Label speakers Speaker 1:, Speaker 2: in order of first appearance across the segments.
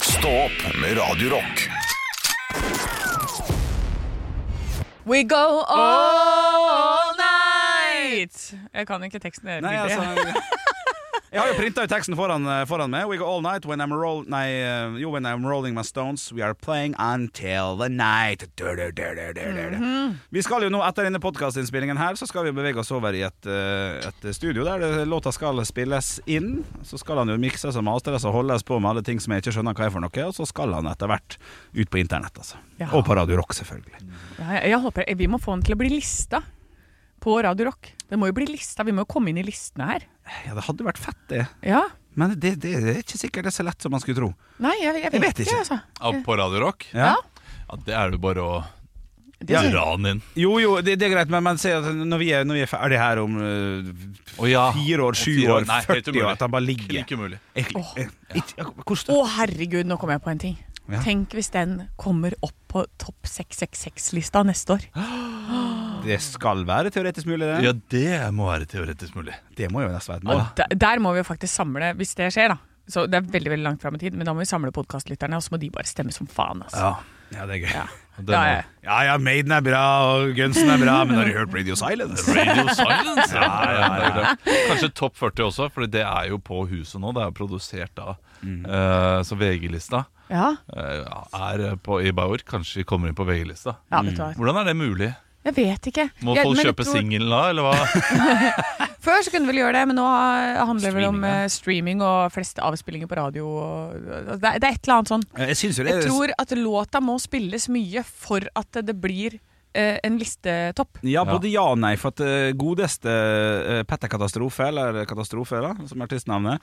Speaker 1: Stå opp med Radio Rock.
Speaker 2: We go all night! Jeg kan ikke teksten. Jeg
Speaker 3: Nei,
Speaker 2: gidder ikke.
Speaker 3: altså Jeg har jo printa ut teksten foran, eh, foran meg. We go all night when I'm, roll, nei, eh, jo, when I'm rolling my stones. We are playing until the night. Du, du, du, du, du, du, du.
Speaker 2: Mhm.
Speaker 3: Vi skal jo nå, etter denne podkastinnspillingen her, så skal vi bevege oss over i et, eh, et studio der det- låta skal spilles inn. Så skal han jo mikses og mastres og holdes på med alle ting som jeg ikke skjønner hva er for noe. Og så skal han etter hvert ut på internett, altså.
Speaker 2: Ja.
Speaker 3: Og på Radio Rock, selvfølgelig.
Speaker 2: Ja, jeg, jeg håper, Vi må få den til å bli lista på Radio Rock. Det må jo bli lista, Vi må jo komme inn i listene her.
Speaker 3: Ja, det hadde vært fett, det.
Speaker 2: Ja.
Speaker 3: Men det, det, det er ikke sikkert det er så lett som man skulle tro.
Speaker 2: Nei, jeg, jeg, vet,
Speaker 3: vet ikke.
Speaker 2: altså.
Speaker 4: Ja, på Radio Rock?
Speaker 3: Ja.
Speaker 4: Ja, det er det bare å
Speaker 3: Ja.
Speaker 4: dra den inn.
Speaker 3: Jo, jo, det, det er greit, men, men se at når vi er, når vi er ferdig her om øh,
Speaker 4: Å ja.
Speaker 3: fire år, sju
Speaker 4: Fire år.
Speaker 3: år,
Speaker 4: Nei, helt
Speaker 3: 40 år,
Speaker 4: umulig.
Speaker 3: at han bare ligger
Speaker 4: Ikke umulig.
Speaker 3: Jeg- jeg- ikke- jeg- Hvor
Speaker 2: Å,
Speaker 3: stort
Speaker 2: herregud, nå kom jeg på en ting.
Speaker 3: Ja.
Speaker 2: Tenk hvis den kommer opp på topp 666-lista neste år.
Speaker 3: Det skal være teoretisk mulig, det.
Speaker 4: Ja, det må være teoretisk mulig.
Speaker 3: Det må jo nesten være et mål.
Speaker 2: Og der, der må vi jo faktisk samle, hvis det skjer, da. Så Det er veldig veldig langt fram i tid, men da må vi samle podkastlytterne, og så må de bare stemme som faen. Altså.
Speaker 3: Ja. ja, det er gøy. Ja.
Speaker 4: Den,
Speaker 2: Da er-
Speaker 3: ja Maiden er bra, og Gunsen er bra, men har du hørt Radio Silence?
Speaker 4: Radio Silence! Ja, ja, det er det. Kanskje topp 40 også, for det er jo på huset nå. Det er jo produsert av eh, Så VG-lista
Speaker 2: Ja,
Speaker 4: eh, er på, i Bauer. Kanskje vi kommer inn på VG-lista.
Speaker 2: ja, vet du hva.
Speaker 4: Hvordan er det mulig?
Speaker 2: Jeg vet ikke.
Speaker 4: Mm. Må
Speaker 2: jeg,
Speaker 4: folk
Speaker 2: men jeg
Speaker 4: kjøpe
Speaker 2: tror-
Speaker 4: singelen da, eller hva?
Speaker 2: Før så kunne vi vel gjøre det, men nå eh, handler det vel om
Speaker 4: Streaming, ja.
Speaker 2: eh, streaming og fleste avspillinger på radio. Og, altså, det, er, det er et eller annet sånn.
Speaker 3: Jeg syns jo det
Speaker 2: Jeg
Speaker 3: er
Speaker 2: tror at låta må spilles mye for at det blir eh, en listetopp.
Speaker 3: ja, både ja og nei. For at eh, godeste eh, Petter Katastrofe, eller Katastrofe, da, som er artistnavnet,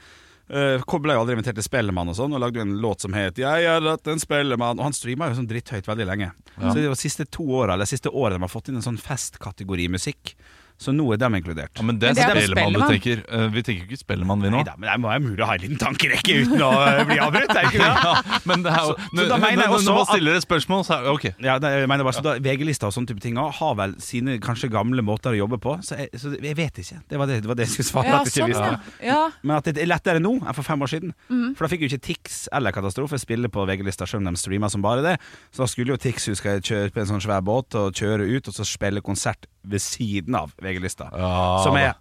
Speaker 3: eh, kom- ble jo aldri invitert til Spellemann og sånn, og lagde jo en låt som het 'Jeg er rett en Spellemann', og han streama jo sånn dritthøyt veldig lenge. Så det er jo de siste to åra, eller siste året, de har fått inn en sånn festkategori musikk, så nå er dem inkludert.
Speaker 4: Ja, men det
Speaker 2: Men det
Speaker 4: er
Speaker 2: er jo
Speaker 4: Spellemann du
Speaker 2: Spellemann.
Speaker 4: tenker. Eh, Vi tenker jo ikke Spellemann, vi nå.
Speaker 3: Neida, men det må være mulig å ha en liten tankerekke uten å eh, bli avbrutt, er det ikke det?
Speaker 4: Ja, men det er jo
Speaker 3: så da
Speaker 4: Når-
Speaker 3: mener jeg
Speaker 4: når-
Speaker 3: også
Speaker 4: Når man
Speaker 3: at-
Speaker 4: stiller et spørsmål, så er det ok.
Speaker 3: Ja, nei, jeg mener bare, så da, VG-lista og sånne type ting også har vel sine kanskje gamle måter å jobbe på, så jeg, så jeg vet ikke. Det var det, det, var det jeg skulle svare.
Speaker 2: Ja,
Speaker 3: at jeg ikke
Speaker 2: sånn,
Speaker 3: visste.
Speaker 2: ja. ja.
Speaker 3: Men at det er lettere nå enn for fem år siden. For da fikk jo ikke Tix eller Katastrofe spille på VG-lista selv om de streama som bare det. Så da skulle jo Tix husker jeg, kjøre på en sånn svær båt og kjøre ut og så spille konsert ved siden av VG-lista.
Speaker 4: Ja,
Speaker 3: som
Speaker 4: da.
Speaker 3: jeg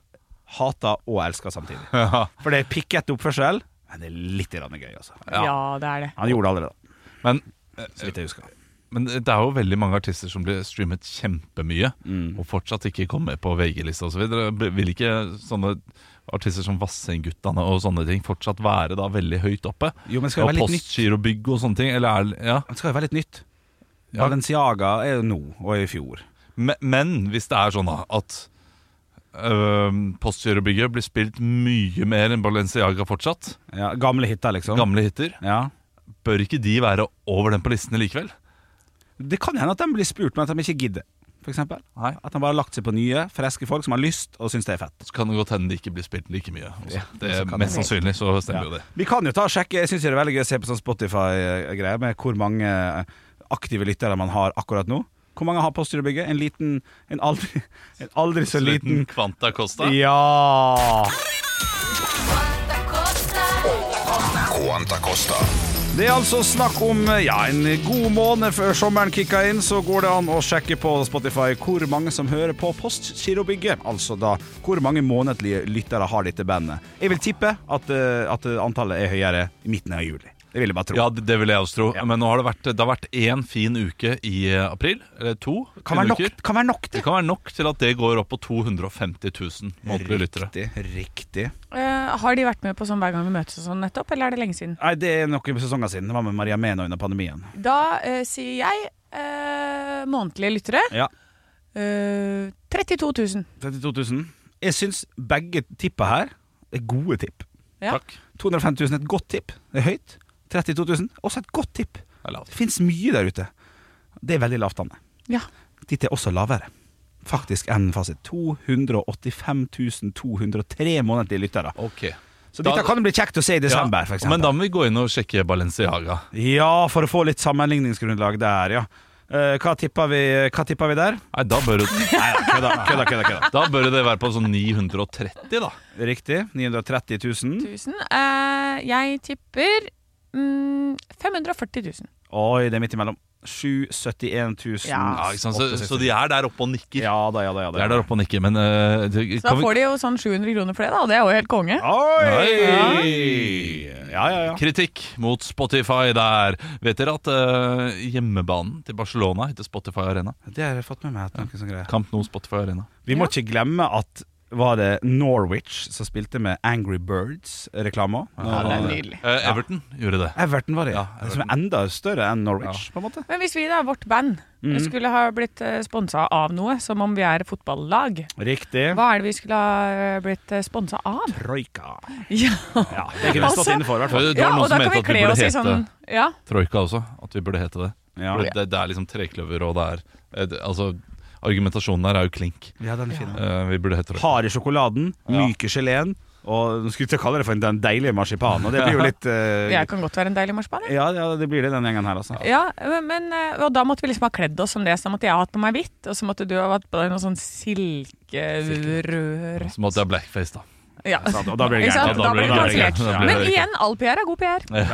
Speaker 3: hater og elsker samtidig.
Speaker 4: Ja.
Speaker 3: For det er pikkete oppførsel, men det er litt grann gøy, altså.
Speaker 4: Ja.
Speaker 2: ja, det er det.
Speaker 3: Han gjorde det allerede,
Speaker 4: Men,
Speaker 3: så vidt jeg husker.
Speaker 4: men det er jo veldig mange artister som blir streamet kjempemye, og fortsatt ikke kommer på VG-lista osv. Vil ikke sånne artister som Vassendguttene og sånne ting fortsatt være da veldig høyt oppe?
Speaker 3: Jo, men skal det
Speaker 4: og
Speaker 3: være litt nytt?
Speaker 4: Postgirobygg og sånne ting? Eller er, ja.
Speaker 3: Det skal jo være litt nytt.
Speaker 4: Ja.
Speaker 3: Balenciaga er jo nå og i fjor.
Speaker 4: men, men hvis det er sånn da at øh, Postgirobygget blir spilt mye mer enn Balenciaga fortsatt,
Speaker 3: Ja, gamle hiter, liksom.
Speaker 4: gamle hiter,
Speaker 3: Ja.
Speaker 4: bør ikke de være over den på listene likevel?
Speaker 3: Det kan hende at de blir spurt, men at de ikke gidder. For eksempel.
Speaker 4: Nei.
Speaker 3: At de bare har lagt seg på nye, friske folk som har lyst og syns det er fett.
Speaker 4: Så kan det godt hende det ikke blir spilt like mye. også.
Speaker 3: Ja,
Speaker 4: det
Speaker 3: så
Speaker 4: er
Speaker 3: kan
Speaker 4: Mest
Speaker 3: det.
Speaker 4: sannsynlig så stemmer jo det.
Speaker 3: Vi kan jo ta og sjekke Jeg syns det er veldig gøy å se på sånn Spotify-greier med hvor mange eh, aktive lyttere man har akkurat nå. Hvor mange har Postgirobygget? En liten En aldri, en aldri så liten
Speaker 4: Kvanta Costa.
Speaker 3: Ja!
Speaker 1: Quanta Costa.
Speaker 3: Det er altså snakk om ja, en god måned før sommeren kicker inn, så går det an å sjekke på Spotify hvor mange som hører på Postgirobygget. Altså da hvor mange månedlige lyttere har dette bandet. Jeg vil tippe at, eh, at antallet er høyere i midten av juli. Det vil jeg bare tro.
Speaker 4: Ja, det, det vil jeg også tro.
Speaker 3: Ja.
Speaker 4: Men nå har det vært Det har vært én fin uke i eh, april. Eller to. fine
Speaker 3: kan, være nok,
Speaker 4: uker.
Speaker 3: kan være nok,
Speaker 4: Det
Speaker 3: det.
Speaker 4: kan være nok til at det går opp på 250 000 månedlige lyttere.
Speaker 3: Riktig. riktig.
Speaker 2: Eh, har de vært med på sånn hver gang vi møtes og sånn nettopp, eller er det lenge siden?
Speaker 3: Nei, det er noen sesonger siden. Det var med Maria Mena under pandemien.
Speaker 2: Da eh, sier jeg eh, månedlige lyttere
Speaker 3: Ja.
Speaker 2: eh, 32 000.
Speaker 3: 32 000. Jeg syns begge tippa her er gode tipp.
Speaker 2: Ja.
Speaker 4: Takk.
Speaker 3: 250 000 er et godt tipp. Det er høyt. 32 000 også et godt tipp.
Speaker 4: Det er lavt.
Speaker 3: Det fins mye der ute. Det er veldig lavt, Anne.
Speaker 2: Ja.
Speaker 3: Ditt er også lavere. Faktisk enn fasit. 285 203 månedlige lyttere.
Speaker 4: Ok.
Speaker 3: Så dette kan bli kjekt å se i desember, for
Speaker 4: ja, men
Speaker 3: eksempel.
Speaker 4: da må vi gå inn og sjekke Balenciaga.
Speaker 3: Ja, for å få litt sammenligningsgrunnlag der, ja. Eh, hva, tipper vi, hva tipper vi der?
Speaker 4: Nei, da bør, det,
Speaker 3: Nei, kødda, kødda, kødda, kødda.
Speaker 4: da bør det være på sånn 930, da.
Speaker 3: Riktig. 930 000.
Speaker 2: Tusen. Eh, jeg tipper mm, 540 000.
Speaker 3: Oi, det er midt imellom. 771 000.
Speaker 2: Ja,
Speaker 4: Ja, ikke sant? Så, så de er der oppe og nikker.
Speaker 3: Ja da, ja da. Ja,
Speaker 4: De er der oppe og nikker, men eh, det-
Speaker 2: Så da
Speaker 4: kan vi-
Speaker 2: får de jo sånn 700 kroner for det, da. og Det er jo helt konge.
Speaker 3: Oi! Ja, ja, ja.
Speaker 4: Kritikk mot Spotify der. Vet dere at eh, hjemmebanen til Barcelona heter Spotify Arena?
Speaker 3: Det har jeg fått med meg. at noen sånne greier.
Speaker 4: Camp Nou Spotify Arena.
Speaker 3: Vi må ikke glemme at var det Norwich som spilte med Angry Birds-reklama?
Speaker 2: Ja, det er nydelig.
Speaker 4: Eh, Everton gjorde det.
Speaker 3: Everton var det, ja. Som er enda større enn Norwich, på en måte.
Speaker 2: Men hvis vi, da, vårt band,
Speaker 3: Mm.
Speaker 2: skulle ha blitt sponsa av noe, som om vi er fotballag,
Speaker 3: Riktig.
Speaker 2: hva er det vi skulle ha eh, blitt sponsa av?
Speaker 3: Troika.
Speaker 2: Ja,
Speaker 3: Ja, det kunne vi stått
Speaker 2: Altså-
Speaker 3: inne for, i hvert
Speaker 4: Det
Speaker 3: fall.
Speaker 4: det var noen
Speaker 2: og da
Speaker 4: som
Speaker 2: kan
Speaker 4: mente at
Speaker 2: vi
Speaker 4: vi
Speaker 2: kle
Speaker 4: burde
Speaker 2: oss i
Speaker 4: hete
Speaker 2: sånn Ja,
Speaker 4: Troika også. At vi burde hete det.
Speaker 3: Ja.
Speaker 4: For det, det er liksom trekløver, og det er eh, det, Altså, argumentasjonen her er jo klink.
Speaker 3: ja, den er fin. ja.
Speaker 4: Eh, vi burde hete Troika.
Speaker 3: Hard i sjokoladen, myk i geleen, og nå skulle jeg til å kalle det for den deilige marsipanen, og det blir jo litt eh,
Speaker 2: jeg kan godt være en deilig marsipan. jeg.
Speaker 3: ja, ja, det blir det den gjengen her, altså.
Speaker 2: Ja, men, eh, og da måtte vi liksom ha kledd oss som det, så da måtte jeg ha hatt på meg hvitt, og så måtte du ha hatt på deg noe sånn silkerør.
Speaker 4: Som at det er blackface, da.
Speaker 2: Ja.
Speaker 3: Sant, Og da blir det
Speaker 2: Ikke sant?
Speaker 3: gærent.
Speaker 2: Da blir det
Speaker 4: gærent.
Speaker 2: kansellert.
Speaker 4: Da blir
Speaker 2: Men
Speaker 4: det-
Speaker 2: igjen, all PR er god PR.
Speaker 3: Ja, ja,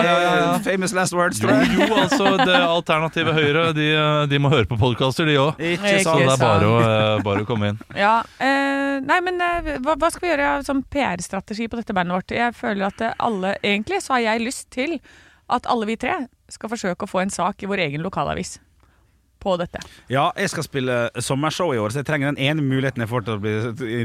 Speaker 3: ja. Famous last words,
Speaker 4: Jo,
Speaker 3: tror jeg.
Speaker 4: jo, altså, det alternative høyre, de, eh, de må høre på podkaster, de òg.
Speaker 3: Ikke
Speaker 4: Så det
Speaker 3: sant.
Speaker 4: er bare å, eh, bare å komme inn.
Speaker 2: Ja, eh, nei, men eh, hva, hva skal vi gjøre av sånn PR-strategi på dette bandet vårt? Jeg føler at eh, alle, Egentlig så har jeg lyst til at alle vi tre skal forsøke å få en sak i vår egen lokalavis på dette.
Speaker 3: Ja, jeg skal spille sommershow i år, så jeg trenger den ene muligheten jeg får til å bli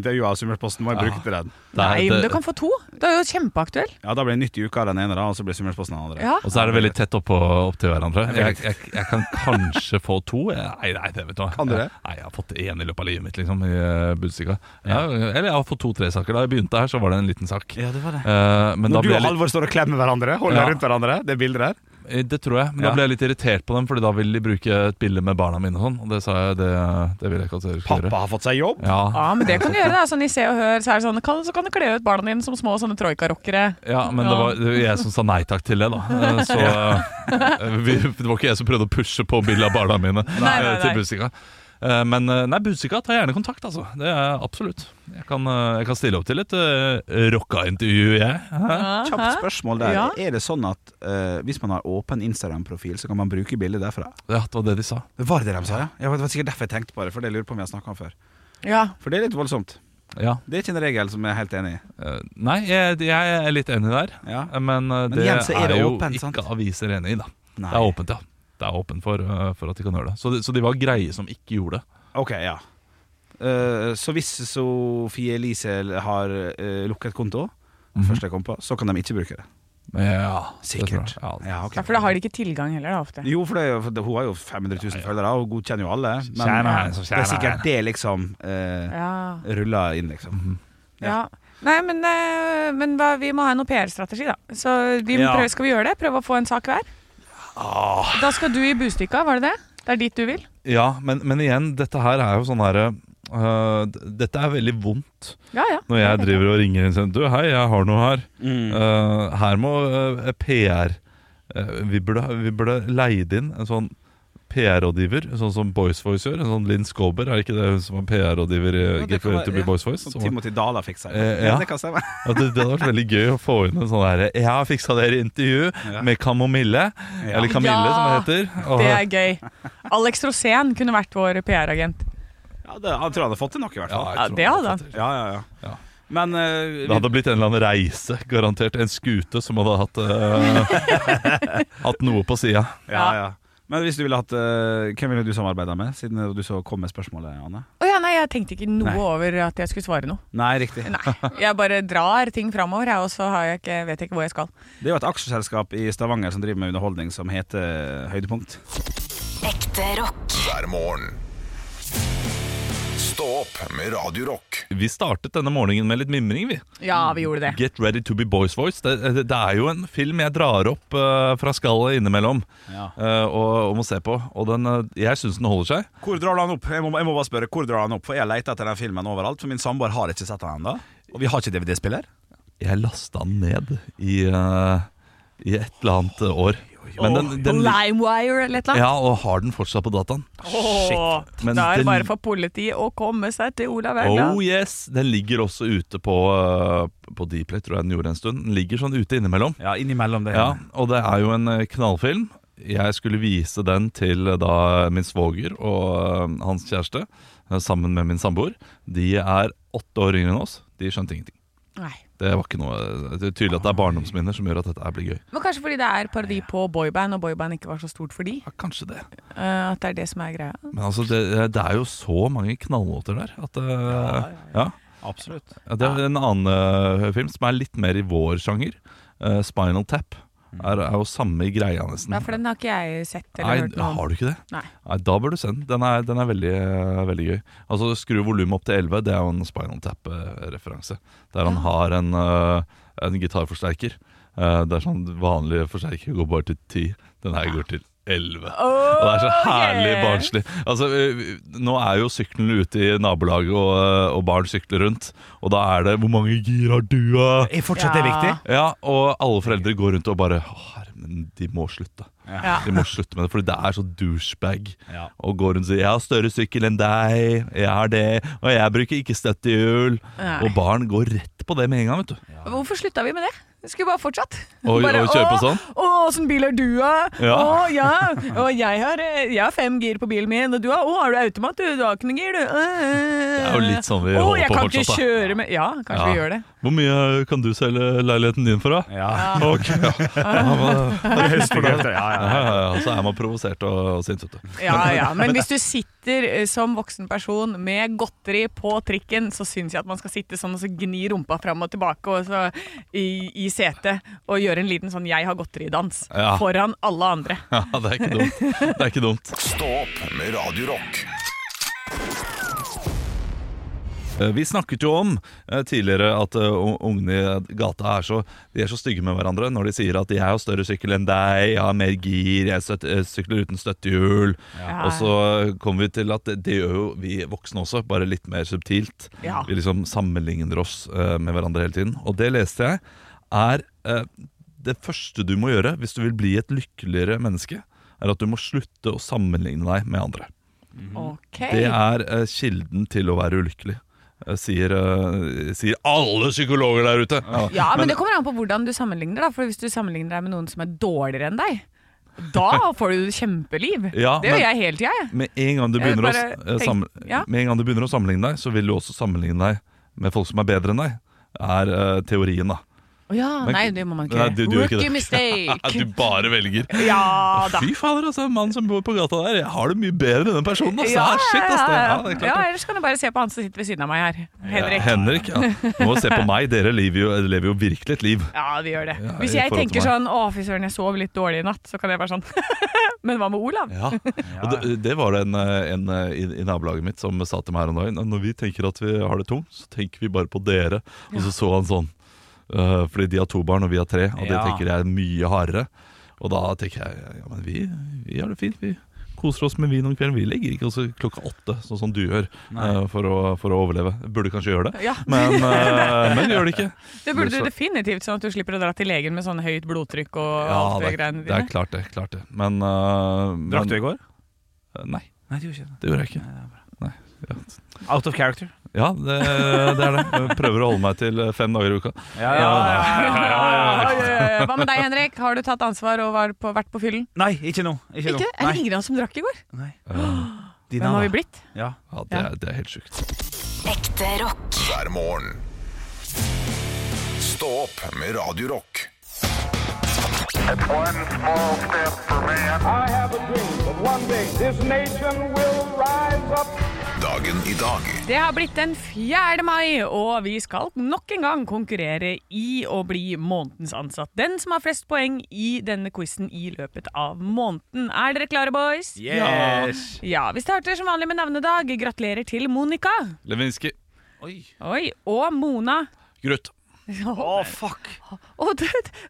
Speaker 3: intervjua av Summersposten. Må jeg bruke til den.
Speaker 4: Det er-
Speaker 2: nei, men
Speaker 4: det-
Speaker 2: du kan få to! Du er jo kjempeaktuell.
Speaker 3: Ja, da blir det Nytt i uka den ene, da, og så blir Summersposten den andre.
Speaker 2: Ja.
Speaker 4: Og så er det veldig tett oppå opp til hverandre. Jeg, jeg, jeg kan kanskje få to. Jeg- Nei, nei, det vet du hva.
Speaker 3: Kan du det?
Speaker 4: Nei, jeg har fått én i løpet av livet mitt, liksom, i eh, Budstikka. Ja, eller jeg har fått to-tre saker. Da jeg begynte her, så var det en liten sak.
Speaker 3: Ja, det var det.
Speaker 4: Eh, men da
Speaker 3: Når du
Speaker 4: ble jeg
Speaker 3: og
Speaker 4: litt,
Speaker 3: Halvor står og klemmer hverandre, holder
Speaker 4: Ja.
Speaker 3: rundt hverandre, det bildet der.
Speaker 4: eh, det tror jeg, men
Speaker 3: Ja.
Speaker 4: da ble jeg litt irritert på dem, Fordi da ville de bruke et bilde med barna mine og sånn. Og det sa jeg, det, det vil jeg ikke at dere skal gjøre.
Speaker 3: Pappa har fått seg jobb.
Speaker 4: Ja,
Speaker 2: Ja, men det kan du gjøre. da Sånn I Se og Hør så, er det sånn, kan, så kan du kle ut barna dine som små sånne troika-rockere.
Speaker 4: ja, men det var det var jeg som sa nei takk til det, da. Eh, Så eh, vi, det var ikke jeg som prøvde å pushe på bildet av barna mine
Speaker 2: Nei, nei,
Speaker 4: eh, til
Speaker 2: nei.
Speaker 4: Budstikka. Eh, Men eh, nei, Budstikka tar gjerne kontakt, altså. Det er absolutt. Jeg kan, eh, jeg kan stille opp til et eh, rocka-intervju, jeg. Hæ?
Speaker 3: Kjapt spørsmål der.
Speaker 2: Ja.
Speaker 3: Er det sånn at eh, hvis man har åpen Instagram-profil, så kan man bruke bildet derfra?
Speaker 4: Ja, det var det de sa.
Speaker 3: Var det det de sa, ja? ja? Det var sikkert derfor jeg tenkte på det, for det lurer jeg på om jeg har snakka om før.
Speaker 2: Ja.
Speaker 3: For det er litt voldsomt.
Speaker 4: Ja.
Speaker 3: Det er ikke en regel som jeg er helt enig i.
Speaker 4: eh, Nei, jeg, jeg er litt enig der.
Speaker 3: Ja.
Speaker 4: Men eh,
Speaker 3: Men
Speaker 4: det,
Speaker 3: igjen så er
Speaker 4: er,
Speaker 3: det
Speaker 4: jo
Speaker 3: åpen, sant?
Speaker 4: ikke aviser enig i, da.
Speaker 3: Nei.
Speaker 4: Det er åpent, ja. Det er åpent for, eh, for at de kan gjøre det. Så, de- så de var greie som ikke gjorde det.
Speaker 3: Ok, ja. Eh, så hvis Sofie Elise har eh, lukket konto,
Speaker 4: Mhm.
Speaker 3: først jeg kom på, så kan de ikke bruke det.
Speaker 4: Ja,
Speaker 3: Sikkert.
Speaker 4: Det tror jeg. Ja,
Speaker 3: Ja, ok.
Speaker 2: For da har de ikke tilgang heller, da, ofte.
Speaker 3: Jo, for, det, er jo- for det- hun har jo 500 000 følgere, og hun godkjenner jo alle. Men
Speaker 4: Kjære henne, så
Speaker 3: det
Speaker 4: kjære
Speaker 3: er sikkert
Speaker 4: henne.
Speaker 3: det liksom eh,
Speaker 2: Ja.
Speaker 3: ruller inn, liksom.
Speaker 2: ja. Nei, men, eh, men hva, vi må ha noe PR-strategi, da. Så vi må
Speaker 3: Ja.
Speaker 2: prøve, skal vi gjøre det? Prøve å få en sak hver?
Speaker 4: Ah.
Speaker 2: Da skal du i Bustikka, var det det? Det er dit du vil?
Speaker 4: Ja, men, men igjen, dette her er jo sånn her øh, d- Dette er veldig vondt
Speaker 2: Ja, ja.
Speaker 4: når jeg driver og ringer inn og sier Du, hei, jeg har noe her. Øh, her må øh, PR øh, vi, burde, vi burde leid inn en sånn PR-rådgiver, sånn som Boys Voice gjør. En sånn Linn Skåber, er det ikke det hun som var PR-rådgiver i
Speaker 3: Ja, det kan
Speaker 4: GPU
Speaker 3: være-
Speaker 4: to be
Speaker 3: ja.
Speaker 4: Boys Voice?
Speaker 3: Som
Speaker 4: Som,
Speaker 3: Timothy Dala fikk seg.
Speaker 4: Eh, ja.
Speaker 3: Det kan stemme.
Speaker 4: ja, det, det hadde vært veldig gøy å få inn en sånn her Jeg har fiksa dere intervju
Speaker 3: Ja.
Speaker 4: med Kamomille. Eller Kamille,
Speaker 2: Ja,
Speaker 4: som det heter. Og-
Speaker 2: Det er gøy. Alex Rosén kunne vært vår PR-agent.
Speaker 3: Ja, det, han tror han hadde fått til noe, i hvert
Speaker 4: Ja,
Speaker 3: fall.
Speaker 2: Ja,
Speaker 4: jeg tror
Speaker 2: det hadde han.
Speaker 3: Ja, ja, ja.
Speaker 4: Ja.
Speaker 3: Men
Speaker 4: Det
Speaker 3: eh,
Speaker 4: hadde blitt en eller annen reise, garantert. En skute som hadde hatt, eh, hatt noe på sida.
Speaker 3: vi, ja, ja. Men hvis du ville hatt eh, Hvem ville du samarbeida med, siden du så kom med spørsmålet, Anne?
Speaker 2: Å ja, nei, jeg tenkte ikke noe
Speaker 3: Nei.
Speaker 2: over at jeg skulle svare noe.
Speaker 3: Nei, riktig.
Speaker 2: Nei. Jeg bare drar ting framover, jeg, og så har jeg ikke, vet jeg ikke hvor jeg skal.
Speaker 3: Det er jo et aksjeselskap i Stavanger som driver med underholdning som heter eh, Høydepunkt.
Speaker 1: hver morgen. Stå opp med Radio Rock.
Speaker 4: Vi startet denne morgenen med litt mimring, vi.
Speaker 2: Ja, vi gjorde det.
Speaker 4: Get Ready To Be Boys Voice. Det, det, det er jo en film jeg drar opp eh, fra skallet innimellom
Speaker 3: Ja.
Speaker 4: eh, og, og må se på. Og den, eh, jeg syns den holder seg.
Speaker 3: Hvor drar du han opp? Jeg må, jeg må bare spørre, hvor drar du han opp? For jeg leter etter den filmen overalt, for min samboer har ikke sett den ennå. Og vi har ikke DVD-spiller.
Speaker 4: Jeg lasta den ned i, eh, i et eller annet eh, år. Men den, den,
Speaker 2: Limewire eller et eller annet.
Speaker 4: ja, og har den fortsatt på dataen.
Speaker 2: Åh,
Speaker 4: Men
Speaker 2: da er det
Speaker 4: den-
Speaker 2: bare for politiet å komme seg til Olav Haugland.
Speaker 4: Oh yes! Den ligger også ute på, eh, på Dplay, tror jeg den gjorde en stund. Den ligger sånn ute innimellom.
Speaker 3: Ja, innimellom det.
Speaker 4: Ja, og det er jo en eh, knallfilm. Jeg skulle vise den til eh, da min svoger og eh, hans kjæreste, eh, sammen med min samboer. De er åtte år yngre enn oss. De skjønte ingenting.
Speaker 2: Nei.
Speaker 4: Det var ikke noe eh, Det er tydelig at det er barndomsminner som gjør at dette her blir gøy.
Speaker 2: Men kanskje fordi det er parodi på boyband, og boyband ikke var så stort for de.
Speaker 4: Ja, kanskje det.
Speaker 2: eh, at det er det som er greia.
Speaker 4: Men altså, det, det er jo så mange knallåter der at eh, ja,
Speaker 3: Absolutt.
Speaker 4: Det er en annen eh, film som er litt mer i vår sjanger. eh, Spinal Tap. Er, er jo samme greia, nesten.
Speaker 2: Nei, for den har ikke jeg sett eller
Speaker 4: Nei,
Speaker 2: hørt noe om.
Speaker 4: har du ikke det?
Speaker 2: Nei.
Speaker 4: da bør du se den. Den er, den er veldig, eh, veldig gøy. Altså Skru volumet opp til 11, det er jo en Spinal Tap-referanse. Der han har en, eh, en gitarforsterker. Eh, det er sånn vanlig forsterker går bare til 10. Den her går til 11. og det er så herlig
Speaker 2: yeah.
Speaker 4: barnslig. Altså, eh, nå er jo syklene ute i nabolaget, og, eh, og barn sykler rundt. Og da er det 'Hvor mange gir har du', da?
Speaker 3: Er fortsatt det
Speaker 2: Ja.
Speaker 3: viktig?
Speaker 4: Ja, og alle foreldre går rundt og bare «Å, herre, men De må slutte.
Speaker 2: Ja.
Speaker 4: De må slutte med det, Fordi det er så douchebag
Speaker 3: Ja.
Speaker 4: å gå rundt og si 'Jeg har større sykkel enn deg', 'Jeg har det', og 'jeg bruker ikke støttehjul'.
Speaker 2: Nei.
Speaker 4: Og barn går rett på det med en gang, vet du.
Speaker 2: Hvorfor slutta vi med det? Vi skulle bare fortsatt.
Speaker 4: Og-
Speaker 2: bare,
Speaker 4: og kjøre på
Speaker 2: «Å,
Speaker 4: sånn?»
Speaker 2: Å, åssen bil har du, da?
Speaker 4: Ja.
Speaker 2: Å, ja. Og jeg har, eh, jeg har fem gir på bilen min, og du har Å, har du automat, du? Du har ikke noe gir, du. Det
Speaker 4: er jo litt sånn vi holder
Speaker 2: jeg
Speaker 4: på
Speaker 2: kan
Speaker 4: fortsatt,
Speaker 2: ikke
Speaker 4: da.»
Speaker 2: kjøre med Ja, kanskje vi
Speaker 4: Ja.
Speaker 2: gjør det.
Speaker 4: Hvor mye kan du selge leiligheten din for, da?
Speaker 3: Ja.
Speaker 4: Ok, ja. Ja, men-
Speaker 3: Det er høstbegrepp, ja,
Speaker 4: ja,
Speaker 3: ja.
Speaker 4: ja, ja, Så er man provosert og, og sint, vet du.
Speaker 2: Ja, ja. Men hvis du sitter eh, som voksen person med godteri på trikken, så syns jeg at man skal sitte sånn og så gni rumpa fram og tilbake og så i, i setet og gjøre en liten sånn 'jeg har godteri'-dans
Speaker 4: Ja.
Speaker 2: foran alle andre.
Speaker 4: Ja, det er ikke dumt. Det er ikke dumt.
Speaker 1: Stå opp med Radio Rock.
Speaker 4: Eh, Vi snakket jo om eh, tidligere at eh, un- ungene i gata er så, de er så stygge med hverandre når de sier at 'jeg har større sykkel enn deg', 'jeg har mer gir', 'jeg støt, eh, sykler uten støttehjul'.
Speaker 2: Ja.
Speaker 4: Og så kommer vi til at det, det gjør jo vi voksne også, bare litt mer subtilt.
Speaker 2: Ja.
Speaker 4: Vi liksom sammenligner oss eh, med hverandre hele tiden. Og det leste jeg er eh, det første du må gjøre hvis du vil bli et lykkeligere menneske, er at du må slutte å sammenligne deg med andre.
Speaker 2: Ok.
Speaker 4: Mhm. Det er eh, kilden til å være ulykkelig. eh, Sier, eh, sier alle psykologer der ute!
Speaker 2: Ja, men, det kommer an på hvordan du sammenligner. da For Hvis du sammenligner deg med noen som er dårligere enn deg, da får du kjempeliv.
Speaker 4: Ja,
Speaker 2: det gjør
Speaker 4: men-
Speaker 2: jeg hele tida, jeg.
Speaker 4: Med en, gang du
Speaker 2: Jeg
Speaker 4: begynner å,
Speaker 2: bare
Speaker 4: eh, sam,
Speaker 2: tenk- ja.
Speaker 4: med en gang du begynner å sammenligne deg, så vil du også sammenligne deg med folk som er bedre enn deg. Er eh, teorien, da.
Speaker 2: Å Ja,
Speaker 4: Men-
Speaker 2: nei, det må man ikke
Speaker 4: Nei,
Speaker 2: gjøre.
Speaker 4: du- du gjør ikke
Speaker 2: Rookie
Speaker 4: det. At du
Speaker 2: mistake.
Speaker 4: bare velger.
Speaker 2: Ja da.
Speaker 4: Fy fader, altså, en mann som bor på gata der, jeg har det mye bedre enn den personen. Altså.
Speaker 2: Ja,
Speaker 4: Ah, shit, altså.
Speaker 2: ja,
Speaker 4: Ja,
Speaker 2: ja.
Speaker 4: det er klart
Speaker 2: ja,
Speaker 4: det.
Speaker 2: ellers kan du bare se på han som sitter ved siden av meg her. Henrik.
Speaker 4: Henrik, ja. Du må se på meg. Dere lever jo, lever jo virkelig et liv.
Speaker 2: Ja, vi gjør det.
Speaker 4: Ja,
Speaker 2: Hvis
Speaker 4: i forhold
Speaker 2: jeg
Speaker 4: til
Speaker 2: tenker sånn 'Å, fy søren, jeg sov litt dårlig i natt', så kan jeg være sånn Men hva med Olav?
Speaker 4: Ja, og det, det var det en, eh, en eh, i, i nabolaget mitt som sa til meg her om dagen Når vi tenker at vi har det tungt, så tenker vi bare på dere Og så så han sånn eh, Fordi de har to barn og vi har tre Og det
Speaker 3: Ja.
Speaker 4: tenker jeg er mye hardere Og da tenker jeg, ja men vi, vi har det fint Vi koser oss med vin om kvelden Vi legger ikke oss klokka åtte, sånn som du gjør eh, for, å, for å overleve Burde kanskje gjøre det
Speaker 2: Ja.
Speaker 4: Men, eh, men gjør det ikke
Speaker 2: Det burde du definitivt, sånn at du slipper å dra til legen med sånn høyt blodtrykk og
Speaker 4: det,
Speaker 2: alt det
Speaker 4: er,
Speaker 2: greiene
Speaker 4: det er
Speaker 2: dine.
Speaker 4: klart det, klart det Men, eh,
Speaker 3: Drakk du
Speaker 4: men eh,
Speaker 3: i går?
Speaker 4: Nei,
Speaker 3: Nei, det gjorde ikke det.
Speaker 4: det gjorde jeg ikke Nei, ja.
Speaker 3: Out of character.
Speaker 4: Ja, det, det er det. Jeg prøver å holde meg til eh, fem dager i uka.
Speaker 3: Ja,
Speaker 2: Ja, ja, ja. Hva med deg, Henrik? Har du tatt ansvar og var på, vært på fyllen?
Speaker 3: Nei, ikke nå. Ikke nå.
Speaker 2: Ikke? Er det ingen av oss som drakk i går?
Speaker 3: Nei.
Speaker 2: Hvem har vi blitt?
Speaker 3: Ja.
Speaker 4: Ja, det er, det er helt sjukt.
Speaker 5: Ekte rock.
Speaker 1: hver morgen. Stå opp med Radio Rock.
Speaker 6: One small step for man. I have a dream that one day this nation will rise up.
Speaker 1: Dagen i dag
Speaker 2: Det har blitt den 4. mai, og vi skal nok en gang konkurrere i å bli månedens ansatt. Den som har flest poeng i denne quizen i løpet av måneden. Er dere klare, boys?
Speaker 3: Yes.
Speaker 2: Ja, Vi starter som vanlig med navnedag. Gratulerer til Monica.
Speaker 4: Lewinsky. Oi.
Speaker 2: Oi, og Mona.
Speaker 4: Grøt.
Speaker 2: Å,
Speaker 4: fuck!
Speaker 2: du,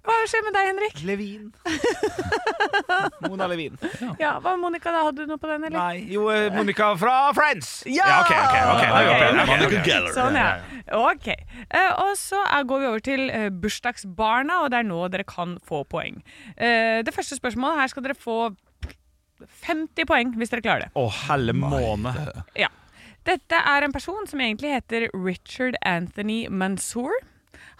Speaker 2: hva skjer med deg, Henrik?
Speaker 4: Levin. Mona Levin.
Speaker 2: Ja, hva med Monica, da? Hadde du noe på den, eller?
Speaker 3: Nei, jo, eh, Monica fra Friends.
Speaker 2: Ja!
Speaker 3: ok, ok, ok, da er vi oppe igjen. Ok, ok.
Speaker 2: Sånn, ja. Ok. Eh, og så er, går vi over til eh, bursdagsbarna, og det er nå dere kan få poeng. Eh, det første spørsmålet her skal dere få 50 poeng hvis dere klarer det.
Speaker 7: Å, helle måne.
Speaker 2: Ja. Dette er en person som egentlig heter Richard Anthony Mansour.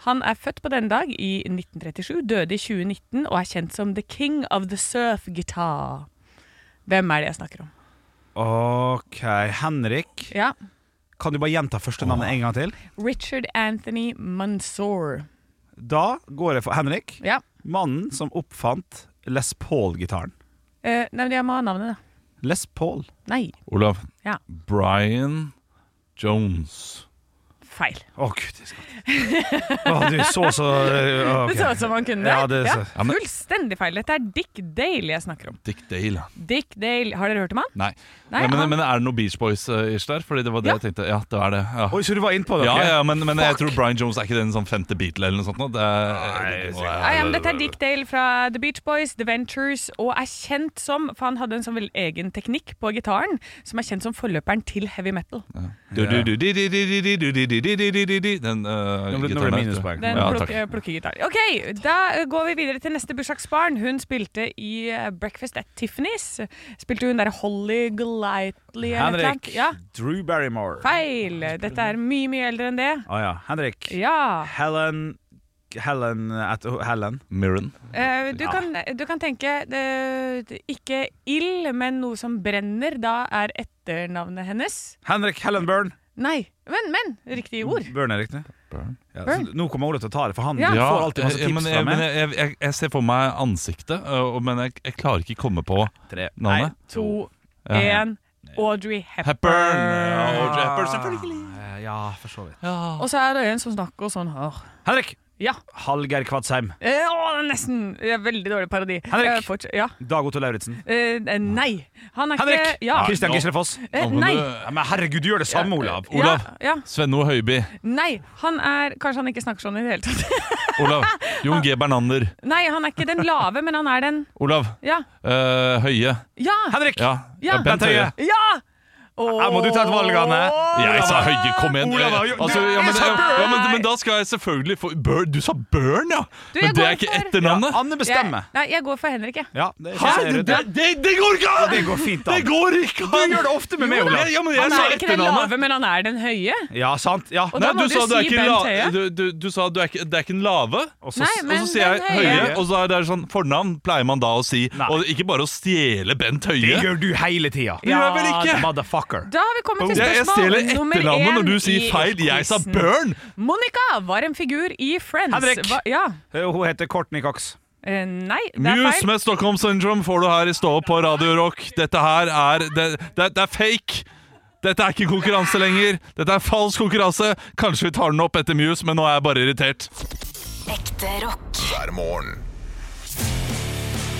Speaker 2: Han er født på denne dag i 1937, døde i 2019 og er kjent som the king of the surf guitar. Hvem er det jeg snakker om?
Speaker 3: Ok, Henrik.
Speaker 2: Ja,
Speaker 3: Kan du bare gjenta første navnet en gang til?
Speaker 2: Richard Anthony Mansour.
Speaker 3: Da går jeg for Henrik.
Speaker 2: Ja.
Speaker 3: Mannen som oppfant Les Paul-gitaren.
Speaker 2: Eh, nei, men jeg må ha navnet, da.
Speaker 3: Les Paul.
Speaker 2: Nei,
Speaker 4: Olav.
Speaker 2: Ja.
Speaker 4: Brian Jones.
Speaker 2: feil.
Speaker 3: Å, gud i skatt. Å, du så så eh, ok.
Speaker 2: Det så ut som han kunne det.
Speaker 3: Ja, det så-
Speaker 4: Ja, men-
Speaker 2: Fullstendig feil. Dette er Dick Dale jeg snakker om.
Speaker 4: Dick Dale.
Speaker 2: Dick Dale, Har dere hørt om han?
Speaker 4: Nei.
Speaker 2: Nei,
Speaker 4: Ja, men,
Speaker 2: han-
Speaker 4: men er det noe Beach Boys-ish der? Fordi det var det
Speaker 2: Ja.
Speaker 4: jeg tenkte. Ja, det er det. Ja.
Speaker 3: Oi, så du var innpå det?
Speaker 4: Ja,
Speaker 3: ok.
Speaker 4: ja, men, men jeg tror Brian Jones er ikke den sånn femte Beatle eller noe sånt. nå. Det er,
Speaker 2: Nei, ja, men dette er Dick Dale fra The Beach Boys, The Ventures, og er kjent som For han hadde en sånn veldig egen teknikk på gitaren som er kjent som forløperen til heavy metal.
Speaker 4: Du, du, du, di, di, di, di, di, di, di, di, di, di, di, di. Den uh,
Speaker 3: Nå ble- nå ble det minuspoeng.
Speaker 2: Den
Speaker 4: Ja,
Speaker 2: plukke,
Speaker 4: takk.
Speaker 2: plukkegitar. OK, da eh, går vi videre til neste bursdagsbarn. Hun spilte i eh, Breakfast at Tiffany's. Spilte hun derre Holly Golightly eller et eller
Speaker 3: Henrik.
Speaker 2: annet? Ja,
Speaker 3: Drew Barrymore.
Speaker 2: feil! Dette er mye, mye eldre enn det.
Speaker 3: Å ja. Henrik.
Speaker 2: Ja.
Speaker 3: Helen Helen at oh, Helen.
Speaker 4: Mirren.
Speaker 2: Eh, du,
Speaker 3: Ja.
Speaker 2: kan, du kan tenke eh, ikke ild, men noe som brenner. Da er etternavnet hennes
Speaker 3: Henrik Helen Byrne.
Speaker 2: Nei, men, men riktig ord.
Speaker 3: Byrne er riktig.
Speaker 4: Byrne.
Speaker 3: Ja,
Speaker 2: Byrne.
Speaker 3: så nå kommer Ole til å ta det, for han
Speaker 2: Ja.
Speaker 3: får alltid masse
Speaker 4: eh,
Speaker 3: tips
Speaker 4: men,
Speaker 3: fra
Speaker 4: jeg, men
Speaker 3: meg.
Speaker 4: jeg, jeg, jeg ser for meg ansiktet, uh, og- men jeg, jeg klarer ikke komme på
Speaker 3: Tre.
Speaker 4: navnet.
Speaker 2: To,
Speaker 4: Ja.
Speaker 2: én Audrey
Speaker 4: Hepburn!
Speaker 2: Hepburn.
Speaker 4: Ja, Audrey Hepburn, selvfølgelig.
Speaker 3: Eh, Ja, for så vidt.
Speaker 2: Og så er det en som snakker sånn her.
Speaker 3: Henrik.
Speaker 2: Ja.
Speaker 3: Hallgeir Kvadsheim.
Speaker 2: Eh, å, det er nesten. Det er veldig dårlig parodi.
Speaker 3: Henrik.
Speaker 2: Eh, forts- ja.
Speaker 3: Dag Otto Lauritzen.
Speaker 2: Eh, nei. Han er
Speaker 3: Henrik! Ah,
Speaker 2: ikke Eh, ja.
Speaker 3: Kristian Gislefoss.
Speaker 2: Eh,
Speaker 4: Nå må
Speaker 2: nei.
Speaker 4: du-
Speaker 3: Ja, men herregud, du gjør det samme, Olav.
Speaker 4: Olav.
Speaker 2: Ja, ja.
Speaker 4: Svenno Høiby.
Speaker 2: Nei. Han er Kanskje han ikke snakker sånn i det hele tatt.
Speaker 4: Olav. Jon G. Bernander.
Speaker 2: Nei, han er ikke den lave, men han er den
Speaker 4: Olav.
Speaker 2: Ja.
Speaker 4: eh, Høie.
Speaker 2: Ja!
Speaker 3: Henrik!
Speaker 4: Ja.
Speaker 2: Ja.
Speaker 4: Eh, Bent Høie.
Speaker 2: Ja!
Speaker 3: Her må du ta et valg, Anne.
Speaker 4: Jeg sa Høie, kom igjen!
Speaker 3: Olav, ja,
Speaker 4: Altså, ja, men,
Speaker 3: du sa
Speaker 4: ja, men, men da skal jeg selvfølgelig få Burn. Du sa Burn, ja!
Speaker 2: Du, jeg
Speaker 4: Men det er
Speaker 2: går
Speaker 4: ikke
Speaker 2: for-
Speaker 4: etternavnet.
Speaker 3: Anne bestemmer.
Speaker 2: Jeg, nei, jeg går for Henrik, jeg.
Speaker 3: Ja, det
Speaker 4: Hæ?
Speaker 3: ser
Speaker 4: Det,
Speaker 3: ut, ja.
Speaker 4: det, det går ikke an!
Speaker 3: Det går fint, da.
Speaker 4: Det går ikke an!
Speaker 3: Du gjør det ofte med meg,
Speaker 4: Jo da.
Speaker 3: Olav.
Speaker 4: Ja, men jeg
Speaker 2: Han
Speaker 4: sa
Speaker 2: er ikke den
Speaker 4: etternavnet.
Speaker 2: lave, men han er den høye.
Speaker 3: Ja, sant. Ja.
Speaker 2: Og
Speaker 4: Nei,
Speaker 2: da må
Speaker 4: du
Speaker 2: du
Speaker 4: sa det er
Speaker 2: si
Speaker 4: ikke
Speaker 2: Bent
Speaker 4: la,
Speaker 2: Høie.
Speaker 4: du, du, du sa du er ikke, det er ikke en lave.
Speaker 3: Og så-
Speaker 2: Nei,
Speaker 4: Og
Speaker 3: og så-
Speaker 2: men
Speaker 4: så sier jeg
Speaker 2: den
Speaker 4: Høie,
Speaker 2: høye.
Speaker 4: og så er det sånn fornavn pleier man da å si.
Speaker 3: Nei.
Speaker 4: Og ikke bare å stjele Bent
Speaker 3: Det
Speaker 4: Høie.
Speaker 3: gjør du hele tida.
Speaker 4: Det gjør jeg vel ikke.
Speaker 3: Motherfucker.
Speaker 2: Da har vi kommet til
Speaker 4: Jeg, jeg
Speaker 2: spørsmål
Speaker 4: stjeler
Speaker 2: nummer
Speaker 4: etternavnet når du
Speaker 2: én
Speaker 4: sier
Speaker 2: i
Speaker 4: feil. Jeg sa
Speaker 2: quizen.
Speaker 4: Burn!
Speaker 2: Monica var en figur i Friends.
Speaker 3: Henrik.
Speaker 2: Hva- ja.
Speaker 3: Eh, Hun heter Courtney Cox.
Speaker 2: Eh, nei, det er
Speaker 4: Muse
Speaker 2: feil.
Speaker 4: med Stockholm Syndrome får du her i Stå opp på Radio Rock. Dette her er det, det, det er fake! Dette er ikke konkurranse lenger. Dette er falsk konkurranse. Kanskje vi tar den opp etter Muse, men nå er jeg bare irritert.
Speaker 5: Ekte rock.
Speaker 1: hver morgen.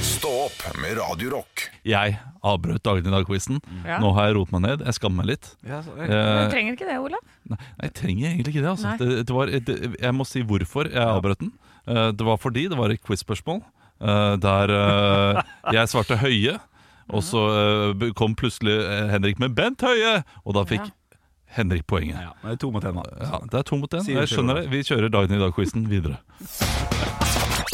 Speaker 1: Stå opp med Radio Rock.
Speaker 4: Jeg avbrøt Dagen i dag-quizen.
Speaker 2: Ja.
Speaker 4: Nå har jeg roet meg ned. Jeg skammer meg litt.
Speaker 2: Du
Speaker 4: Eh,
Speaker 2: trenger ikke det, Olav.
Speaker 4: nei, jeg trenger egentlig ikke det. Altså.
Speaker 2: Nei.
Speaker 4: det, det var, det, jeg må si hvorfor jeg avbrøt den. Eh, det var fordi det var et quiz-spørsmål eh, der eh, jeg svarte Høie, og så eh, kom plutselig eh, Henrik med Bent Høie, og da fikk Henrik poenget.
Speaker 3: Ja, det er to mot én, da.
Speaker 4: Ja, det er to mot én.
Speaker 3: Sier du
Speaker 4: Jeg
Speaker 3: selv,
Speaker 4: skjønner det. Vi kjører Dagen i dag-quizen videre.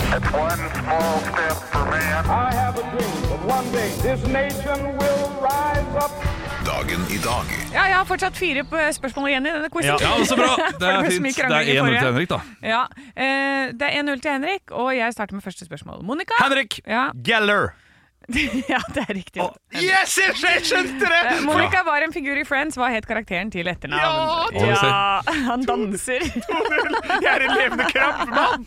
Speaker 6: It's one small step for man.
Speaker 8: I have a dream that one day this nation will rise up.
Speaker 1: Dagen i dag
Speaker 2: Ja, jeg har fortsatt fire p- spørsmål igjen i denne quizen.
Speaker 4: Ja, men så bra! Det
Speaker 2: ble
Speaker 4: er
Speaker 2: så mye
Speaker 4: fint. Det
Speaker 2: krangling
Speaker 4: er
Speaker 2: i
Speaker 4: 1-0
Speaker 2: forrige.
Speaker 4: til Henrik, da.
Speaker 2: Ja, eh, det er 1-0 til Henrik, og jeg starter med første spørsmål. Monica!
Speaker 3: Henrik
Speaker 2: Ja.
Speaker 3: Geller.
Speaker 2: ja, det er riktig.
Speaker 3: Å, yes, jeg skj- jeg skjønte det!
Speaker 2: Eh, Monica var en figur i Friends. Hva het karakteren til etternavn?
Speaker 4: Ja,
Speaker 2: Ja, han danser.
Speaker 3: Jeg er en levende krabbemann!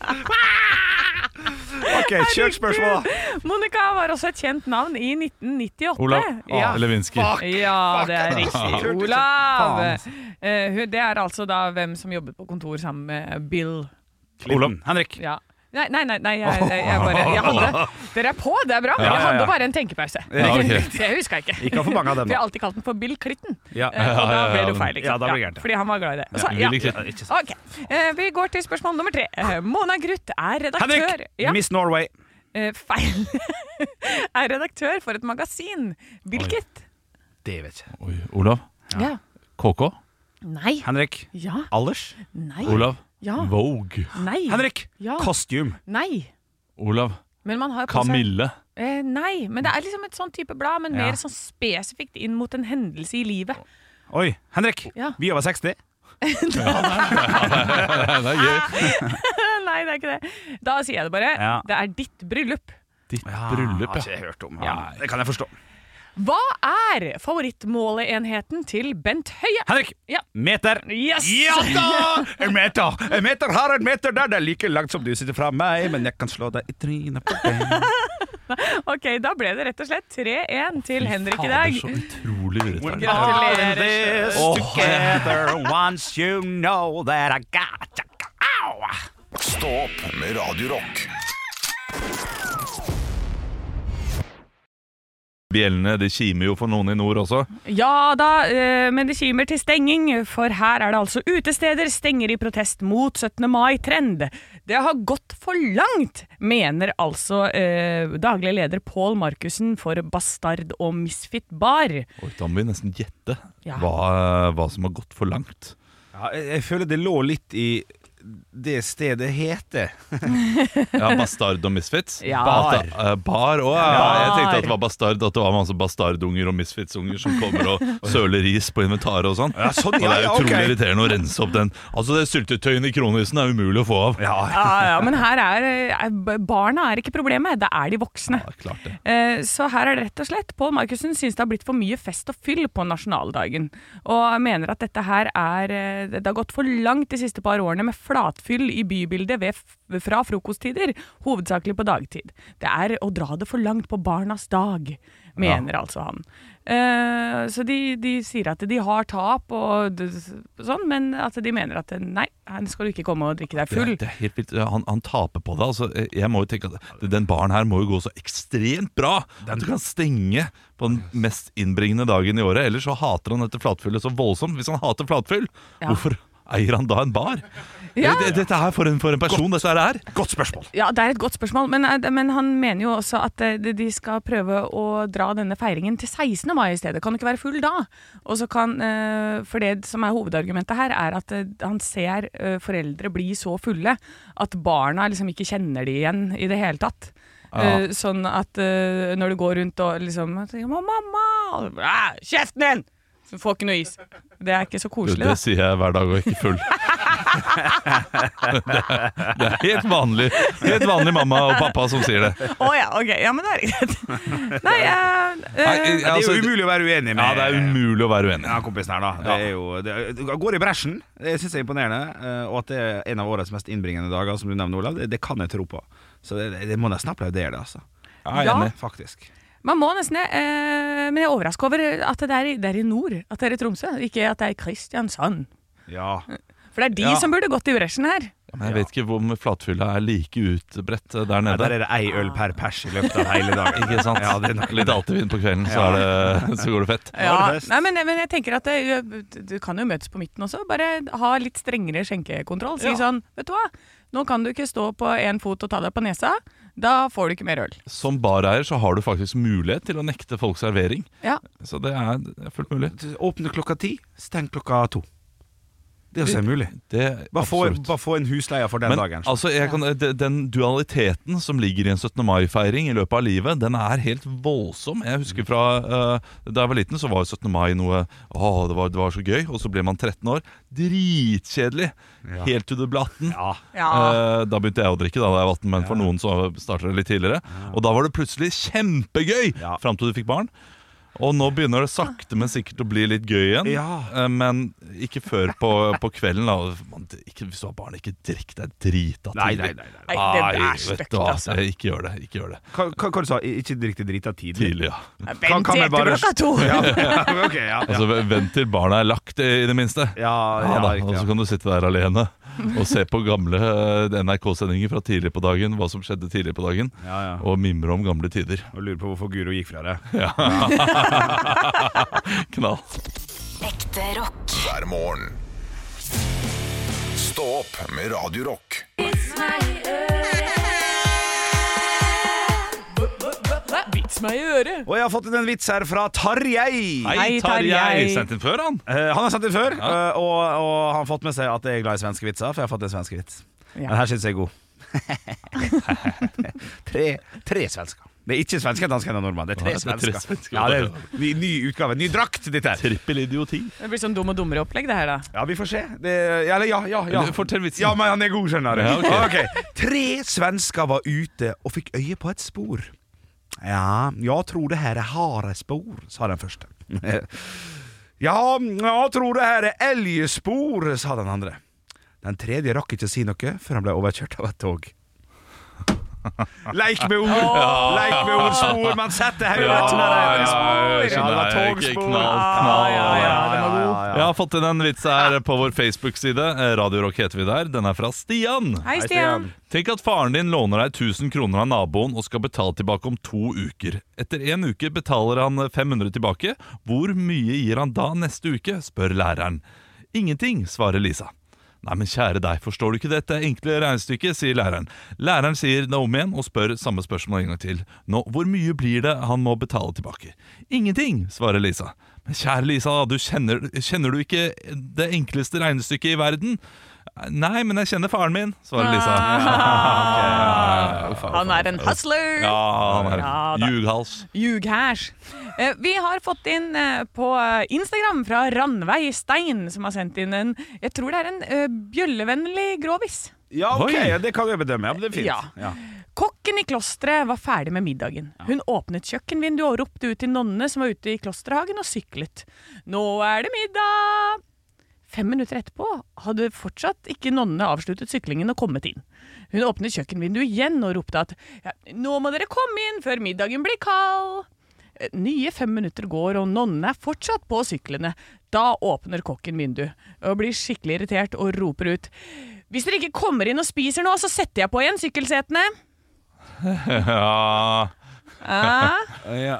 Speaker 3: OK, kjør spørsmålet, da.
Speaker 2: Monica var også et kjent navn i 1998.
Speaker 4: Olav
Speaker 2: Eh,
Speaker 3: Ah,
Speaker 2: ja.
Speaker 4: Lewinsky.
Speaker 2: Ja, det er riktig. Olav!
Speaker 3: Faen.
Speaker 2: Eh, hun- det er altså da hvem som jobbet på kontor sammen med Bill.
Speaker 3: Olav. Henrik.
Speaker 2: Ja. Nei, nei, nei, nei jeg, jeg, jeg bare jeg hadde, Dere er på, det er bra.
Speaker 3: Ja,
Speaker 2: Jeg
Speaker 3: ja, ja.
Speaker 2: hadde bare en tenkepause.
Speaker 3: Ja,
Speaker 4: ok.
Speaker 2: Det huska jeg ikke.
Speaker 3: Ikke for mange av dem,
Speaker 2: Vi har
Speaker 3: da.
Speaker 2: alltid kalt den for Bill Clinton,
Speaker 3: Ja.
Speaker 2: eh, og da
Speaker 4: ja,
Speaker 2: ble
Speaker 4: ja,
Speaker 2: det jo feil. Ikke?
Speaker 3: ja,
Speaker 2: sant?
Speaker 3: da ble det gærent.
Speaker 2: Fordi han var glad i det. Så, ja.
Speaker 4: Ville ikke-
Speaker 2: Ok, eh, Vi går til spørsmål nummer tre. Eh, Mona Gruth er redaktør
Speaker 3: Henrik!
Speaker 2: Ja,
Speaker 3: Miss Norway.
Speaker 2: eh, Feil. er redaktør for et magasin. Hvilket?
Speaker 3: Det vet jeg.
Speaker 4: Oi, Olav.
Speaker 2: Ja.
Speaker 4: KK.
Speaker 2: Nei.
Speaker 3: Henrik.
Speaker 2: Ja.
Speaker 3: Alders.
Speaker 2: Nei.
Speaker 4: Olav.
Speaker 2: Ja.
Speaker 4: Vogue.
Speaker 2: Nei.
Speaker 3: Henrik.
Speaker 2: Ja.
Speaker 3: Costume.
Speaker 2: Nei.
Speaker 4: Olav.
Speaker 2: Men man har på seg
Speaker 4: Kamille.
Speaker 2: Eh, nei, men det er liksom et sånn type blad, men
Speaker 3: Ja.
Speaker 2: mer sånn spesifikt inn mot en hendelse i livet.
Speaker 3: Oi, Henrik.
Speaker 2: Ja.
Speaker 3: Vi over 60.
Speaker 4: Nei, det er gøy.
Speaker 2: nei, det er ikke det. Da sier jeg det bare.
Speaker 3: Ja.
Speaker 2: Det er ditt bryllup.
Speaker 4: Ditt bryllup,
Speaker 3: Har ikke
Speaker 4: ja.
Speaker 3: jeg hørt om.
Speaker 4: Ja.
Speaker 3: Det kan jeg forstå.
Speaker 2: Hva er favorittmåleenheten til Bent Høie?
Speaker 3: Henrik.
Speaker 2: Ja.
Speaker 3: Meter.
Speaker 2: Yes!
Speaker 3: Ja da! En meter. En meter har en meter der. Det er like langt som du sitter fra meg, men jeg kan slå deg i trynet på deg.
Speaker 2: Ok, da ble det rett og slett 3-1 til Henrik i
Speaker 4: Fader,
Speaker 2: dag.
Speaker 4: så utrolig urettferdig.
Speaker 2: Gratulerer.
Speaker 3: All this together once you know that I got you. Au!
Speaker 1: Stå opp med Radio Rock.
Speaker 4: Bjellene de kimer jo for noen i nord også.
Speaker 2: Ja da, eh, men det kimer til stenging, for her er det altså utesteder stenger i protest mot 17. mai-trend. Det har gått for langt, mener altså eh, daglig leder Pål Markussen for Bastard og Misfit Bar.
Speaker 4: Oi, da må vi nesten gjette
Speaker 2: Ja.
Speaker 4: hva, hva som har gått for langt.
Speaker 3: Ja, jeg, jeg føler det lå litt i det stedet heter.
Speaker 4: Ja, Bastard og Misfits.
Speaker 2: Ja.
Speaker 4: At det- eh, bar òg. Ja, jeg tenkte at det
Speaker 2: Bar.
Speaker 4: var bastard, at det var masse bastardunger og misfitsunger som kommer og søler ris på inventaret og sånn.
Speaker 3: Ja, sånn,
Speaker 4: Og det er
Speaker 3: ja, ja,
Speaker 4: utrolig
Speaker 3: ok.
Speaker 4: irriterende å rense opp den. Altså, det syltetøyet i kronisen er umulig å få av.
Speaker 3: Ja,
Speaker 2: Ja, ja, men her er, er Barna er ikke problemet, det er de voksne.
Speaker 4: Ja, klart det.
Speaker 2: Eh, Så her er det rett og slett Pål Markussen syns det har blitt for mye fest og fyll på nasjonaldagen, og mener at dette her er eh, Det har gått for langt de siste par årene med flatfyll i bybildet ved, f- fra frokosttider, hovedsakelig på dagtid. Det er å dra det for langt på barnas dag, mener altså han. Eh, Så de, de sier at de har tap og d- sånn, men at de mener at eh, nei, her skal du ikke komme og drikke deg
Speaker 4: Det,
Speaker 2: full.
Speaker 4: er- det er helt vilt. Ja, Han, han taper på det. Altså, Jeg- jeg må jo tenke at Den baren her må jo gå så ekstremt bra at du kan stenge på den mest innbringende dagen i året. Ellers så hater han dette flatfyllet så voldsomt. Hvis han hater flatfyll,
Speaker 2: Ja.
Speaker 4: hvorfor eier han da en bar?
Speaker 2: Ja.
Speaker 4: Det- Dette her for en, for en person, dette her er.
Speaker 3: godt spørsmål.
Speaker 2: Ja, det er et godt spørsmål, men, eh, men han mener jo også at eh, de skal prøve å dra denne feiringen til 16. mai i stedet. Kan du ikke være full da? Og så kan, eh, For det som er hovedargumentet her, er at eh, han ser eh, foreldre bli så fulle at barna liksom ikke kjenner de igjen i det hele tatt. Eh, Sånn at eh, når du går rundt og liksom tenker, «Å, 'Mamma!' og, «Æ, 'Kjeften din!' Så du får ikke noe is. Det er ikke
Speaker 4: Du,
Speaker 2: så koselig, da.
Speaker 4: det sier jeg hver dag og er ikke full. Det er, det er helt vanlig Helt vanlig mamma og pappa som sier det.
Speaker 2: Å ja, ok. Ja, men det er greit. Nei, eh, eh,
Speaker 4: Nei,
Speaker 3: Det er jo
Speaker 4: altså,
Speaker 3: umulig å være uenig med
Speaker 4: ja, det er umulig å være uenig.
Speaker 3: ja, kompisen her, da. Det er jo, det er, det går i bresjen. Det syns jeg er imponerende. eh, Og at det er en av årets mest innbringende dager, som du nevner, Olav, det, det kan jeg tro på. Så det, det- det må nesten applaudere det, altså.
Speaker 4: Jeg er
Speaker 2: Ja.
Speaker 4: enig.
Speaker 3: Faktisk.
Speaker 2: Man må nesten det. eh, men jeg er overraska over at det er, i- det er i nord, at det er i Tromsø. Ikke at det er i Kristiansand.
Speaker 3: Ja.
Speaker 2: For det er de
Speaker 3: Ja.
Speaker 2: som burde gått i bresjen her.
Speaker 4: Ja, Men jeg vet ikke om flatfylla er like utbredt eh, der
Speaker 3: Nei,
Speaker 4: nede.
Speaker 3: der er det ei øl per pers i løpet av hele dagen.
Speaker 4: Ikke sant?
Speaker 3: Ja, det er nok
Speaker 4: Litt altivin på kvelden, så, er det, så går det fett.
Speaker 3: Ja, det er best.
Speaker 2: Nei, men, men jeg tenker at det, du kan jo møtes på midten også. Bare ha litt strengere skjenkekontroll. Si sånn, vet du hva, nå kan du ikke stå på én fot og ta deg på nesa. Da får du ikke mer øl.
Speaker 4: Som bareier så har du faktisk mulighet til å nekte folk servering.
Speaker 2: Ja.
Speaker 4: Så det er, det er fullt mulig.
Speaker 3: Du Åpner klokka ti, steng klokka to. Det er også mulig.
Speaker 4: Det er
Speaker 3: Bare få,
Speaker 4: absolutt.
Speaker 3: bare få en husleie for den
Speaker 4: Men
Speaker 3: dagen.
Speaker 4: altså, jeg kan, de- den dualiteten som ligger i en 17. mai-feiring i løpet av livet, den er helt voldsom. Jeg husker fra eh, da jeg var liten, så var 17. mai noe Å, det var, det var så gøy. Og så ble man 13 år. Dritkjedelig! Helt til du ble 18.
Speaker 3: Ja.
Speaker 4: Eh, Da begynte jeg å drikke, da, da jeg var 18, men for noen så starter det litt tidligere. Og da var det plutselig kjempegøy
Speaker 3: Ja.
Speaker 4: fram til du fikk barn. Og nå begynner det sakte, men sikkert å bli litt gøy igjen.
Speaker 3: Ja.
Speaker 4: Eh, Men ikke før på, på kvelden. Da. Man, ikke, hvis du har barn, ikke drikk deg drita
Speaker 3: Nei,
Speaker 4: tidlig.
Speaker 3: nei,
Speaker 2: Nei, det
Speaker 3: nei, nei.
Speaker 4: Nei,
Speaker 2: er
Speaker 4: vet
Speaker 2: stygt,
Speaker 4: du hva.
Speaker 2: altså.
Speaker 4: Eh, Ikke gjør det. ikke gjør det
Speaker 3: Hva, hva, hva du sa du? Ikke drikk det drita tidlig?
Speaker 4: Tidlig, ja.
Speaker 3: Kan-
Speaker 2: Vent
Speaker 3: Eh, kan
Speaker 2: til
Speaker 3: jeg bare-
Speaker 2: etter klokka to!
Speaker 3: Ja, ok, ja.
Speaker 4: Altså, Vent til Altså, barna er lagt, eh, i det minste.
Speaker 3: Ja,
Speaker 4: Ja,
Speaker 3: ja,
Speaker 4: da, altså
Speaker 3: riktig,
Speaker 4: og så
Speaker 3: ja.
Speaker 4: kan du sitte der alene. og se på gamle eh, NRK-sendinger fra tidligere på dagen, hva som skjedde tidligere på dagen,
Speaker 3: Ja, ja.
Speaker 4: og mimre om gamle tider.
Speaker 3: Og lurer på hvorfor Guro gikk fra det.
Speaker 4: Knall.
Speaker 5: Ekte rock.
Speaker 1: hver morgen. Stå opp med Radio Rock.
Speaker 2: Vits meg i øret!
Speaker 3: Og jeg har fått inn en vits her fra Tarjei.
Speaker 2: Hei, Tarjei.
Speaker 4: Sendt den før, han.
Speaker 3: Eh, han har sendt den før, eh, og, og han har fått med seg at jeg er glad i svenske vitser. For jeg har fått en svenske vits. Den her syns jeg er god. tre, tre svensker. Det er ikke svenske, danske eller nordmann. Det er tre
Speaker 4: Nei, det er
Speaker 3: svensker.
Speaker 4: tre svensker.
Speaker 3: Ja, det er ny, ny utgave. Ny drakt, dette her.
Speaker 4: Trippel idioti.
Speaker 2: Det blir sånn dum og dummere opplegg, det her, da.
Speaker 3: Ja, vi får se. Det, ja, eller ja, ja, ja.
Speaker 4: Fortell vitsen.
Speaker 3: Ja, men han er god, skjønner du.
Speaker 4: Ja, ok.
Speaker 3: Ok. Tre svensker var ute og fikk øye på et spor. Ja, jeg tror det her er harespor, sa den første. ja, jeg tror det her er elgspor, sa den andre. Den tredje rakk ikke å si noe før han ble overkjørt av et tog. Leik med ord! Leik med ord, spor! Man setter hodet
Speaker 4: Ja,
Speaker 3: under det.
Speaker 4: ja, ja, jeg
Speaker 3: Ja, det var
Speaker 4: skjønner.
Speaker 3: togspor.
Speaker 4: Knall,
Speaker 3: Ah,
Speaker 4: knall.
Speaker 3: ja, ja, den var god.
Speaker 4: Jeg har fått inn en vits her på vår Facebook-side. Eh, Radio Rock heter vi der. Den er fra Stian.
Speaker 2: Hei, Stian.
Speaker 4: Tenk at faren din låner deg 1000 kroner av naboen og skal betale tilbake om to uker. Etter en uke betaler han 500 tilbake. Hvor mye gir han da neste uke, spør læreren. Ingenting, svarer Lisa. Nei, men kjære deg, forstår du ikke dette enkle regnestykket, sier læreren. Læreren sier det om igjen og spør samme spørsmål en gang til. Nå, hvor mye blir det han må betale tilbake? Ingenting, svarer Lisa. Men kjære Lisa, du kjenner, kjenner du ikke det enkleste regnestykket i verden? Nei, men jeg kjenner faren min, svarer Lisa.
Speaker 2: Ah. Han er en hustler!
Speaker 4: Ja, han er
Speaker 2: Ja, da.
Speaker 4: en Jughals.
Speaker 2: Jughæsj. Eh, Vi har fått inn eh, på eh, Instagram fra Randveig Stein, som har sendt inn en Jeg tror det er en eh, bjøllevennlig gråvis.
Speaker 3: Ja, ok,
Speaker 4: Oi.
Speaker 3: ja, det kan jeg bedømme. Ja, men det er fint.
Speaker 2: Ja. Kokken i klosteret var ferdig med middagen. Hun åpnet kjøkkenvinduet og ropte ut til nonnene som var ute i klosterhagen og syklet. Nå er det middag! Fem minutter etterpå hadde fortsatt ikke nonnene avsluttet syklingen og kommet inn. Hun åpnet kjøkkenvinduet igjen og ropte at ja, nå må dere komme inn før middagen blir kald. Eh, Nye fem minutter går, og nonnene er fortsatt på syklene. Da åpner kokken vinduet og blir skikkelig irritert og roper ut Hvis dere ikke kommer inn og spiser nå, så setter jeg på igjen sykkelsetene.
Speaker 4: Ja,
Speaker 2: Ah,
Speaker 3: Ja,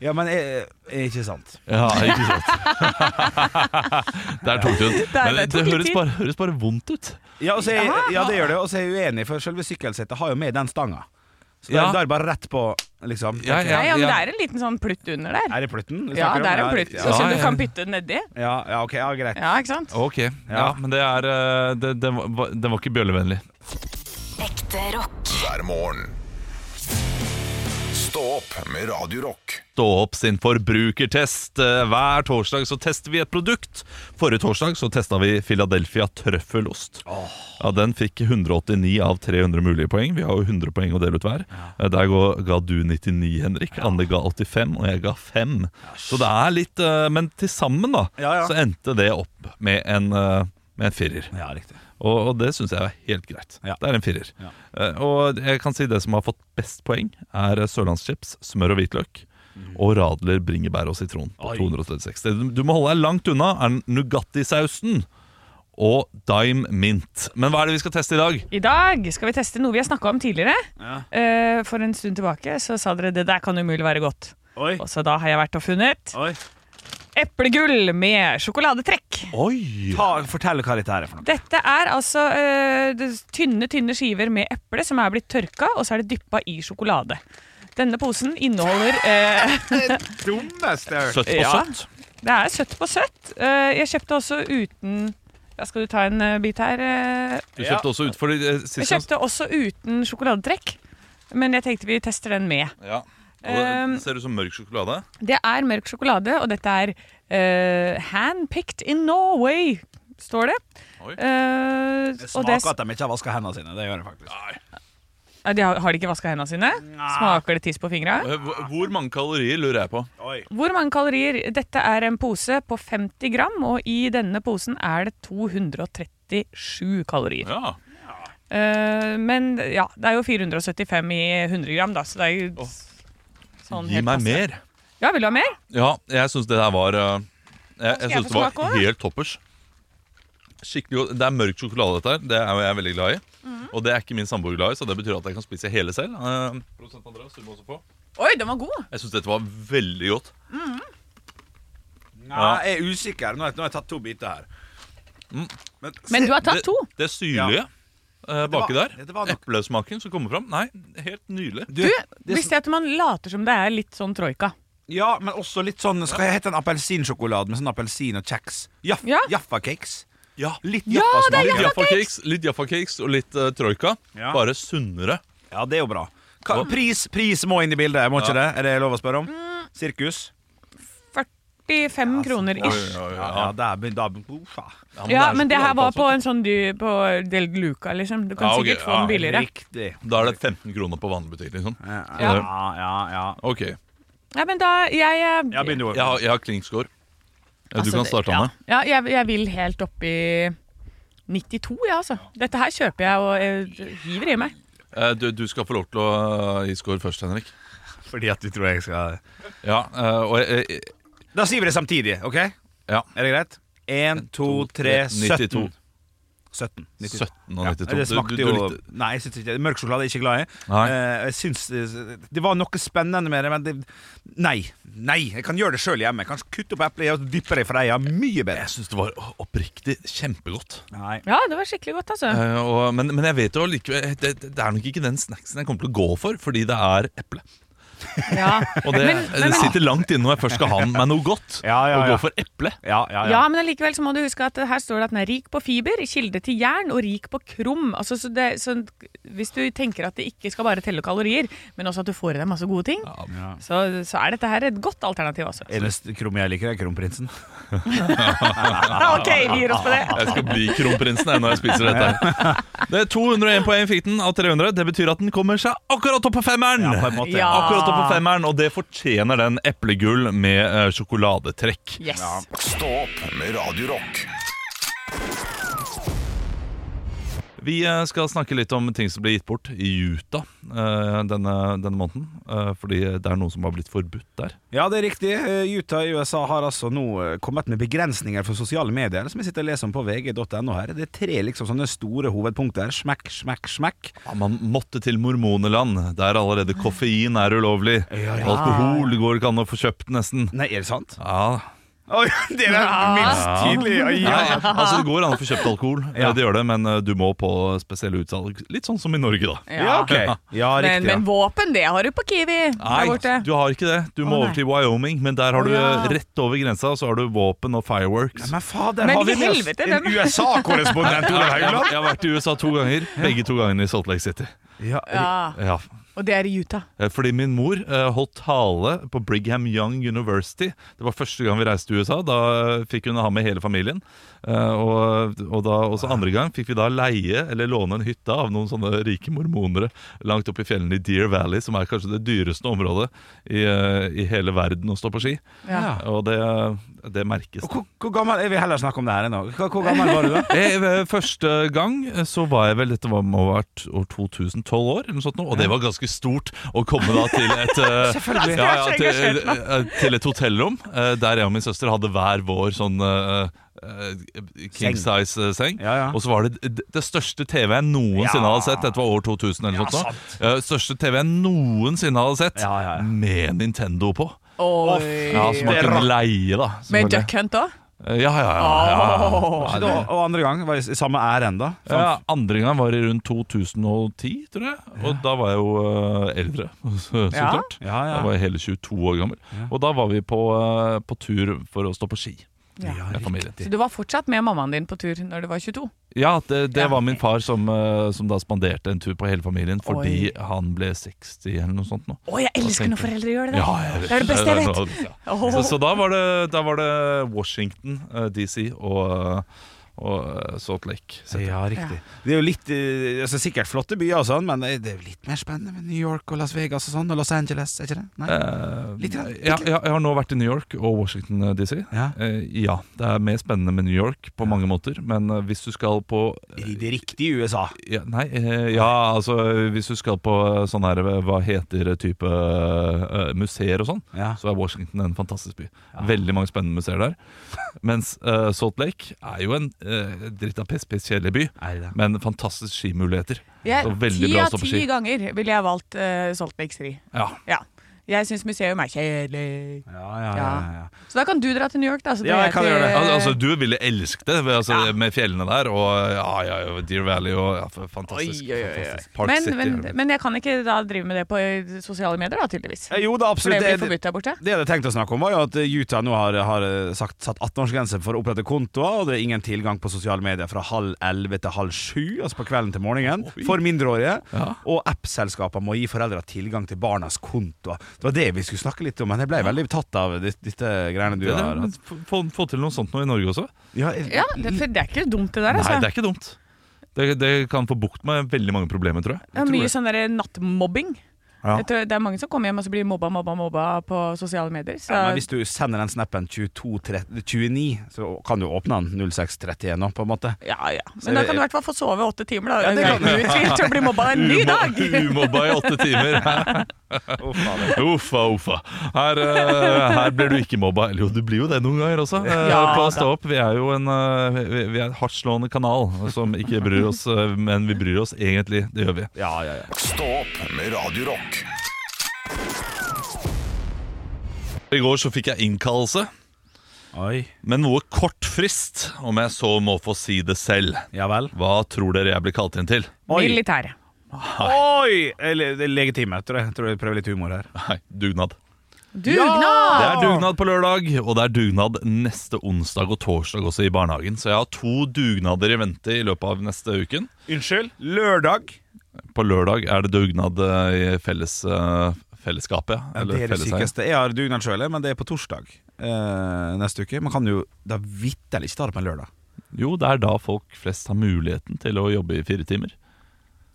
Speaker 3: ja men er, er ikke sant.
Speaker 4: ja ikke sant. Der tok du den.
Speaker 2: Der-
Speaker 4: Men
Speaker 2: der
Speaker 4: det,
Speaker 2: tok litt
Speaker 4: høres,
Speaker 2: tid.
Speaker 4: bare, høres bare vondt ut.
Speaker 3: Ja, og så er, ja det gjør det, og så er jeg uenig, for selve sykkelsettet har jo med den stanga. Så
Speaker 4: Ja.
Speaker 3: det er bare rett på, liksom.
Speaker 4: Ja, ja.
Speaker 2: nei, ja, men det er en liten sånn plutt under der.
Speaker 3: Er det plutten? vi
Speaker 2: Ja,
Speaker 3: snakker om?
Speaker 2: det er en plutt,
Speaker 3: Ja,
Speaker 2: så, så
Speaker 4: ja,
Speaker 2: du
Speaker 4: ja.
Speaker 2: kan bytte den nedi.
Speaker 3: ja, ja, ok, ja, greit.
Speaker 2: Ja, ikke sant?
Speaker 4: Ok, ja, men det er eh, det, det, var, det var ikke bjøllevennlig.
Speaker 5: Ekte rock.
Speaker 1: hver morgen. Stå opp med Radio Rock.
Speaker 4: Stå opp sin forbrukertest. Eh, Hver torsdag så tester vi et produkt. Forrige torsdag så testa vi Philadelphia trøffelost. Ja, den fikk 189 av 300 mulige poeng. Vi har jo 100 poeng å dele ut hver. Eh, Der ga, ga du 99, Henrik. Anne ga 85, og jeg ga 5. Så det er litt eh, Men til sammen, da,
Speaker 3: Ja, ja.
Speaker 4: så endte det opp med en, eh, med en firer.
Speaker 3: Ja, riktig.
Speaker 4: Og, og det syns jeg er helt greit.
Speaker 3: Ja.
Speaker 4: Det er en firer.
Speaker 3: Ja.
Speaker 4: Eh, og jeg kan si det som har fått best poeng, er eh, sørlandschips, smør og hvitløk. Og Radler bringebær og sitron på
Speaker 3: Oi.
Speaker 4: 236. Det- Du må holde deg langt unna er Nugatti-sausen og Dime Mint. Men hva er det vi skal teste i dag?
Speaker 2: I dag skal vi teste noe vi har snakka om tidligere. Eh, for en stund tilbake så sa dere det der kan umulig være godt.
Speaker 3: Oi,
Speaker 2: Og så da har jeg vært og funnet
Speaker 3: oi.
Speaker 2: eplegull med sjokoladetrekk.
Speaker 4: Oi!
Speaker 3: Ta, fortell hva dette her er for noe.
Speaker 2: Dette er altså eh, det- tynne, tynne skiver med eple som er blitt tørka, og så er det dyppa i sjokolade. Denne posen inneholder eh,
Speaker 3: Dummeste.
Speaker 4: Søtt på
Speaker 2: Ja.
Speaker 4: søtt.
Speaker 2: Det er søtt på søtt. Eh, jeg kjøpte også uten ja, Skal du ta en eh, bit her? eh?
Speaker 4: Du kjøpte også ut for de eh,
Speaker 2: Jeg
Speaker 4: siste
Speaker 2: kjøpte også uten sjokoladetrekk, men jeg tenkte vi tester den med.
Speaker 4: ja. Og
Speaker 2: Ehm.
Speaker 4: det ser ut som mørk sjokolade.
Speaker 2: Det er mørk sjokolade, og dette er uh, handpicked in Norway, står det.
Speaker 4: Oi.
Speaker 2: Eh,
Speaker 3: Det
Speaker 2: og det,
Speaker 3: smaker at de ikke har vasket hendene sine, det gjør det faktisk.
Speaker 2: ja, de har, har de ikke vaska hendene sine? Smaker det tiss på fingra?
Speaker 4: Eh, hvor- Hvor mange kalorier lurer jeg på?
Speaker 2: Hvor mange kalorier? Dette er en pose på 50 gram, og i denne posen er det 237 kalorier.
Speaker 4: Ja.
Speaker 2: Eh, men ja, det er jo 475 i 100 gram, da, så det er jo sånn
Speaker 4: Gi
Speaker 2: helt
Speaker 4: meg
Speaker 2: passe.
Speaker 4: mer.
Speaker 2: Ja, vil du ha mer?
Speaker 4: Ja, jeg syns det der var eh, Jeg,
Speaker 2: skal
Speaker 4: jeg
Speaker 2: jeg
Speaker 4: synes
Speaker 2: få
Speaker 4: det var
Speaker 2: smake også, da?
Speaker 4: helt toppers. skikkelig godt. Det er mørk sjokolade, dette her. Det er jo jeg veldig glad i.
Speaker 2: Mhm.
Speaker 4: Og det er ikke min samboer glad i, så det betyr at jeg kan spise hele selv. Eh, Produsent Andreas, du må også få.
Speaker 2: Oi, den var god!
Speaker 4: Jeg syns dette var veldig godt.
Speaker 3: Ja, jeg er usikker. Nå har jeg, nå har jeg tatt to biter her. Mm. Men,
Speaker 2: Men du har tatt
Speaker 4: det,
Speaker 2: to.
Speaker 4: Det syrlige eh, baki
Speaker 3: var-
Speaker 4: der.
Speaker 3: det var nok-
Speaker 4: Eplesmaken som kommer fram. Nei, helt nydelig.
Speaker 3: Du,
Speaker 2: Du,
Speaker 3: det,
Speaker 2: visste jeg at man later som det er litt sånn troika.
Speaker 3: Ja, men også litt sånn Skal jeg hete en appelsinsjokolade med sånn appelsin og kjeks? Jaff,
Speaker 2: Ja.
Speaker 3: Jaffa-cakes.
Speaker 4: Ja,
Speaker 3: Litt
Speaker 2: Ja, det er
Speaker 4: Litt
Speaker 3: Jaffa-smak. Ja,
Speaker 4: Jaffa Cakes, litt Jaffa Cakes og litt eh, troika.
Speaker 3: Ja.
Speaker 4: Bare sunnere.
Speaker 3: ja, det er jo bra. Hva, pris, pris må inn i bildet, må ikke det? Er det lov å spørre om?
Speaker 2: Mm.
Speaker 3: Sirkus?
Speaker 2: 45 kroner ish.
Speaker 4: Oi, oi, oi,
Speaker 3: Ja, ja der begyn- da oh, begyn- Uffa.
Speaker 2: Ja, men det
Speaker 4: så
Speaker 2: her var på
Speaker 4: bra,
Speaker 2: en sånn du på Del Luca, liksom. Du kan
Speaker 4: Ja, ok,
Speaker 2: sikkert få
Speaker 4: ja,
Speaker 2: den billigere.
Speaker 3: Riktig.
Speaker 4: altså. Da er det 15 kroner på vanlig butikk, liksom.
Speaker 3: Ja,
Speaker 2: Ja.
Speaker 3: ja, ja. ja.
Speaker 4: Ok, jeg,
Speaker 2: Nei, men da Jeg, eh,
Speaker 3: Ja, begynn du.
Speaker 4: har, jeg har klinkskår. Ja,
Speaker 2: altså,
Speaker 4: du kan
Speaker 2: det-
Speaker 4: starte,
Speaker 2: ja.
Speaker 4: Anne.
Speaker 2: Ja, jeg, jeg vil helt opp i 92, jeg, altså. Dette her kjøper jeg og eh, hiver i meg.
Speaker 4: Eh, Du, du skal få lov til å eh, gi skår først, Henrik.
Speaker 3: Fordi at du tror jeg skal
Speaker 4: Ja, eh, og jeg, jeg,
Speaker 3: Da sier vi det samtidig, OK?
Speaker 4: Ja.
Speaker 3: Er det greit? Én, to, tre,
Speaker 4: 92.
Speaker 3: 17. 17. 92.
Speaker 4: 17 og 92.
Speaker 3: Det
Speaker 4: Du-
Speaker 3: smakte
Speaker 4: du-
Speaker 3: jo
Speaker 4: du likte-
Speaker 3: Nei, jeg synes ikke Mørk sjokolade er jeg ikke glad i.
Speaker 4: Nei.
Speaker 3: Eh, jeg syns eh, Det var noe spennende med det, men det Nei. Nei, jeg kan gjøre det sjøl hjemme. Jeg kan kutte opp eplet og dyppe det i freia. Mye bedre.
Speaker 4: Jeg syns det var oppriktig kjempegodt.
Speaker 3: Nei.
Speaker 2: Ja, det var skikkelig godt, altså.
Speaker 4: Eh, og, men, men jeg vet jo likevel det, det er nok ikke den snacksen jeg kommer til å gå for, fordi det er eple.
Speaker 2: Ja.
Speaker 4: Og det,
Speaker 2: Men- men-
Speaker 4: det sitter langt inne når jeg først skal ha meg noe godt.
Speaker 3: Ja, ja,
Speaker 4: Å
Speaker 3: ja.
Speaker 4: gå for eple.
Speaker 3: Ja, ja, ja.
Speaker 2: Ja, men allikevel så må du huske at her står det at den er rik på fiber, kilde til jern og rik på krom. Altså, så det, så hvis du tenker at det ikke skal bare telle kalorier, men også at du får i deg masse gode ting, så, så er dette her et godt alternativ også.
Speaker 3: Eneste krom jeg liker, er Kronprinsen.
Speaker 2: ok, vi gir oss på det.
Speaker 4: Jeg skal bli kronprinsen jeg, når jeg spiser dette. her Det er 201 poeng fikk den av 300. Det betyr at den kommer seg akkurat opp på femmeren!
Speaker 3: Ja, på en måte.
Speaker 2: Ja.
Speaker 4: Akkurat opp på femmeren, og det fortjener den eplegull med eh, sjokoladetrekk.
Speaker 2: Yes.
Speaker 1: Stå opp med Radio Rock.
Speaker 4: Vi eh, skal snakke litt om ting som ble gitt bort i Utah eh, denne, denne måneden. eh, Fordi det er noe som har blitt forbudt der.
Speaker 3: Ja, det er riktig. Eh, Utah i USA har altså nå eh, kommet med begrensninger for sosiale medier, som jeg sitter og leser om på vg.no her. Det er tre liksom sånne store hovedpunkter. Smekk, smekk, smekk.
Speaker 4: Ja, man måtte til mormoneland, der allerede koffein er ulovlig. Alkohol går ikke an å få kjøpt, nesten.
Speaker 3: Nei, er det sant?
Speaker 4: Ja.
Speaker 3: Oi, det er minst tydelig. Oi, ja.
Speaker 4: Nei, altså Det går an å få kjøpt alkohol, eh, det gjør det, men eh, du må på spesielle utsalg. Litt sånn som i Norge, da.
Speaker 3: Ja, ok. Ja,
Speaker 2: Men,
Speaker 3: riktig. ja.
Speaker 2: men våpen, det har du på Kiwi der borte.
Speaker 4: du har ikke det. Du må
Speaker 2: Å,
Speaker 4: over
Speaker 2: nei.
Speaker 4: til Wyoming, men der har du eh,
Speaker 2: ja.
Speaker 4: rett over grensa, og så har du våpen og fireworks.
Speaker 3: Men fader,
Speaker 2: Men
Speaker 3: har vi
Speaker 2: i
Speaker 3: med oss
Speaker 2: helvete,
Speaker 3: en
Speaker 2: hvem-
Speaker 3: USA-korrespondent, Olav
Speaker 4: Jeg,
Speaker 3: Haugland?
Speaker 4: jeg har vært i USA to ganger, begge to gangene i Salt Lake City.
Speaker 3: Ja,
Speaker 2: Ja,
Speaker 4: Ja,
Speaker 2: og det er i Utah.
Speaker 4: Eh, Fordi min mor eh, holdt tale på Brigham Young University. Det var første gang vi reiste til USA. Da eh, fikk hun ha med hele familien. Eh, og, og da, også andre gang fikk vi da leie eller låne en hytte av noen sånne rike mormonere langt oppe i fjellene i Deer Valley, som er kanskje det dyreste området i, eh, i hele verden å stå på ski.
Speaker 2: Ja.
Speaker 4: Og det, det merkes.
Speaker 3: Hvor, hvor gammel Jeg vil heller snakke om det her ennå. Hvor, hvor gammel var du da?
Speaker 4: Eh, eh, Første gang eh, så var jeg vel Dette var, må ha vært år 2012 år eller noe sånt nå, Og det var ganske stort Å komme da til et eh,
Speaker 3: Selvfølgelig.
Speaker 4: ja, ja, til, eh, til et hotellrom eh, Der jeg og min søster hadde hver vår Sånn eh, eh,
Speaker 3: Seng.
Speaker 4: King size eh, seng
Speaker 3: Ja, ja.
Speaker 4: Og så var det d- det største TV jeg noensinne
Speaker 3: Ja.
Speaker 4: hadde sett Dette var år 2000 eller
Speaker 3: Ja,
Speaker 4: noe sånt nå. Eh, Største TV jeg noensinne hadde sett
Speaker 3: Ja, ja, ja.
Speaker 4: Med Nintendo på
Speaker 2: Oi.
Speaker 4: Ja, som man
Speaker 3: Det er
Speaker 4: kunne
Speaker 3: rart.
Speaker 4: leie da
Speaker 2: Med
Speaker 4: selvfølgelig.
Speaker 2: Duck Hunt òg?
Speaker 4: Eh, Ja, ja, ja, ja, ja.
Speaker 3: Så da, og andre gang var i samme ærend, da?
Speaker 4: Ja, andre gang var det rundt 2010, tror jeg. Og da var jeg jo eh, eldre, så
Speaker 2: Ja.
Speaker 4: klart.
Speaker 3: Ja, ja.
Speaker 4: Da var jeg hele 22 år gammel. Og da var vi på, eh, på tur for å stå på ski.
Speaker 2: Ja.
Speaker 4: med familien.
Speaker 2: Så du var fortsatt med mammaen din på tur når du var 22?
Speaker 4: Ja, det, det
Speaker 2: Ja.
Speaker 4: var min far som, eh, som da spanderte en tur på hele familien fordi
Speaker 2: Oi.
Speaker 4: han ble 60 eller noe sånt nå.
Speaker 2: Å, jeg elsker når foreldre gjør det!
Speaker 4: Ja,
Speaker 2: det er det beste jeg vet!
Speaker 4: vet. Så, så da, var det, da var det Washington eh, DC og, og eh, Salt Lake. City.
Speaker 3: Ja, riktig. Det er jo litt eh, altså, Sikkert flotte byer og sånn, men det er jo litt mer spennende med New York og Las Vegas og sånn, og Los Angeles, er ikke det? Nei?
Speaker 4: Eh,
Speaker 3: Litt grann, litt
Speaker 4: ja, ja, jeg har nå vært i New York og Washington eh, DC.
Speaker 3: Ja.
Speaker 4: Eh, ja, det er mer spennende med New York på mange måter, men eh, hvis du skal på eh,
Speaker 3: I det riktige USA.
Speaker 4: ja, Nei, eh, ja, altså hvis du skal på eh, sånn her eh, Hva heter det type eh, museer og sånn,
Speaker 3: Ja.
Speaker 4: så er Washington en fantastisk by. Veldig mange spennende museer der. Mens eh, Salt Lake er jo en eh, eh, dritt av piss, piss, kjedelig by,
Speaker 3: Er det?
Speaker 4: men fantastisk skimuligheter.
Speaker 2: Jeg,
Speaker 4: Så veldig
Speaker 2: ti
Speaker 4: bra å
Speaker 2: av
Speaker 4: stå på
Speaker 2: ti
Speaker 4: ski.
Speaker 2: ganger ville jeg valgt uh, Soltviks ri.
Speaker 4: Ja.
Speaker 2: Ja. Jeg syns museum er kjedelig.
Speaker 3: Ja, ja, ja,
Speaker 2: Ja.
Speaker 3: ja,
Speaker 2: Så da kan du dra til New York, da. Så
Speaker 3: Ja,
Speaker 2: drar
Speaker 3: jeg kan
Speaker 2: til-
Speaker 3: gjøre det.
Speaker 4: Al altså, du ville elsket det ved- altså,
Speaker 2: Ja.
Speaker 4: med fjellene der, og ja, ja, ja, Deer Valley og ja, f- fantastisk.
Speaker 2: Oi, oi, oi, oi.
Speaker 4: fantastisk. Park
Speaker 2: Men,
Speaker 4: City.
Speaker 2: men, men jeg kan ikke da drive med det på eh, sosiale medier, da, tydeligvis.
Speaker 3: Eh, Jo da,
Speaker 2: For det
Speaker 3: absolutt.
Speaker 2: blir
Speaker 3: Det,
Speaker 2: forbudt der borte.
Speaker 3: det jeg hadde tenkt å snakke om, var jo at Utah nå har, har sagt, satt 18-årsgrense for å opprette kontoer, og det er ingen tilgang på sosiale medier fra halv elleve til halv sju, altså på kvelden til morgenen, for mindreårige.
Speaker 4: Ja.
Speaker 3: Og app-selskaper må gi foreldre tilgang til barnas kontoer. Det var det vi skulle snakke litt om, men jeg ble veldig tatt av dis- disse greiene du
Speaker 4: Det
Speaker 3: har
Speaker 4: der,
Speaker 3: hatt.
Speaker 4: få- få, få til noe sånt nå i Norge også.
Speaker 3: Ja, jeg-
Speaker 2: Ja, det, for det er ikke dumt, det der. Altså.
Speaker 4: Nei, det er ikke dumt. Det, det kan få bukt med veldig mange problemer, tror jeg.
Speaker 2: Ja, mye sånn der nattmobbing.
Speaker 4: Ja.
Speaker 2: Jeg tror Det er mange som kommer hjem og så blir mobba, mobba, mobba på sosiale medier. Så
Speaker 3: Ja, men hvis du sender den snappen 22.29, så kan du åpne den 06.31 nå, på en måte.
Speaker 2: ja, ja.
Speaker 3: Så
Speaker 2: Men da
Speaker 3: jeg-
Speaker 2: kan du i hvert fall få sove åtte timer, da.
Speaker 3: Ja, det
Speaker 2: det
Speaker 3: kan
Speaker 2: kan du utvilt til å bli mobba en ny
Speaker 4: Umo-
Speaker 2: dag!
Speaker 4: Umobba i åtte timer. Uffa, uffa. Her, eh, her blir du ikke mobba. Eller jo, du blir jo det noen ganger også. Eh,
Speaker 2: Ja,
Speaker 4: på Stå opp. Vi er jo en eh, vi, vi er en hardtslående kanal som ikke bryr oss, eh, men vi bryr oss egentlig. Det gjør vi.
Speaker 3: Ja, ja, ja.
Speaker 1: Stå opp med Radio Rock.
Speaker 4: I går så fikk jeg innkallelse,
Speaker 3: Oi.
Speaker 4: men noe kort frist, om jeg så må få si det selv.
Speaker 3: Ja vel.
Speaker 4: Hva tror dere jeg blir kalt inn til?
Speaker 3: Oi!
Speaker 2: Militære.
Speaker 3: Oi! Eller, det er legitime, tror jeg. Tror jeg prøver litt humor her.
Speaker 4: Nei, dugnad. Det
Speaker 2: Dugnad!
Speaker 4: er dugnad på lørdag, og det er dugnad neste onsdag og torsdag også i barnehagen. Så jeg har to dugnader i vente i løpet av neste uken.
Speaker 3: Unnskyld? Lørdag?
Speaker 4: På lørdag er det dugnad eh, i felles, eh, fellesskapet.
Speaker 3: Ja, det er det
Speaker 4: fellesheia.
Speaker 3: sykeste. Jeg har dugnad sjøl, men det er på torsdag eh, neste uke. Man kan jo da vitterlig ikke ta det på en lørdag.
Speaker 4: Jo, det er da folk flest har muligheten til å jobbe i fire timer.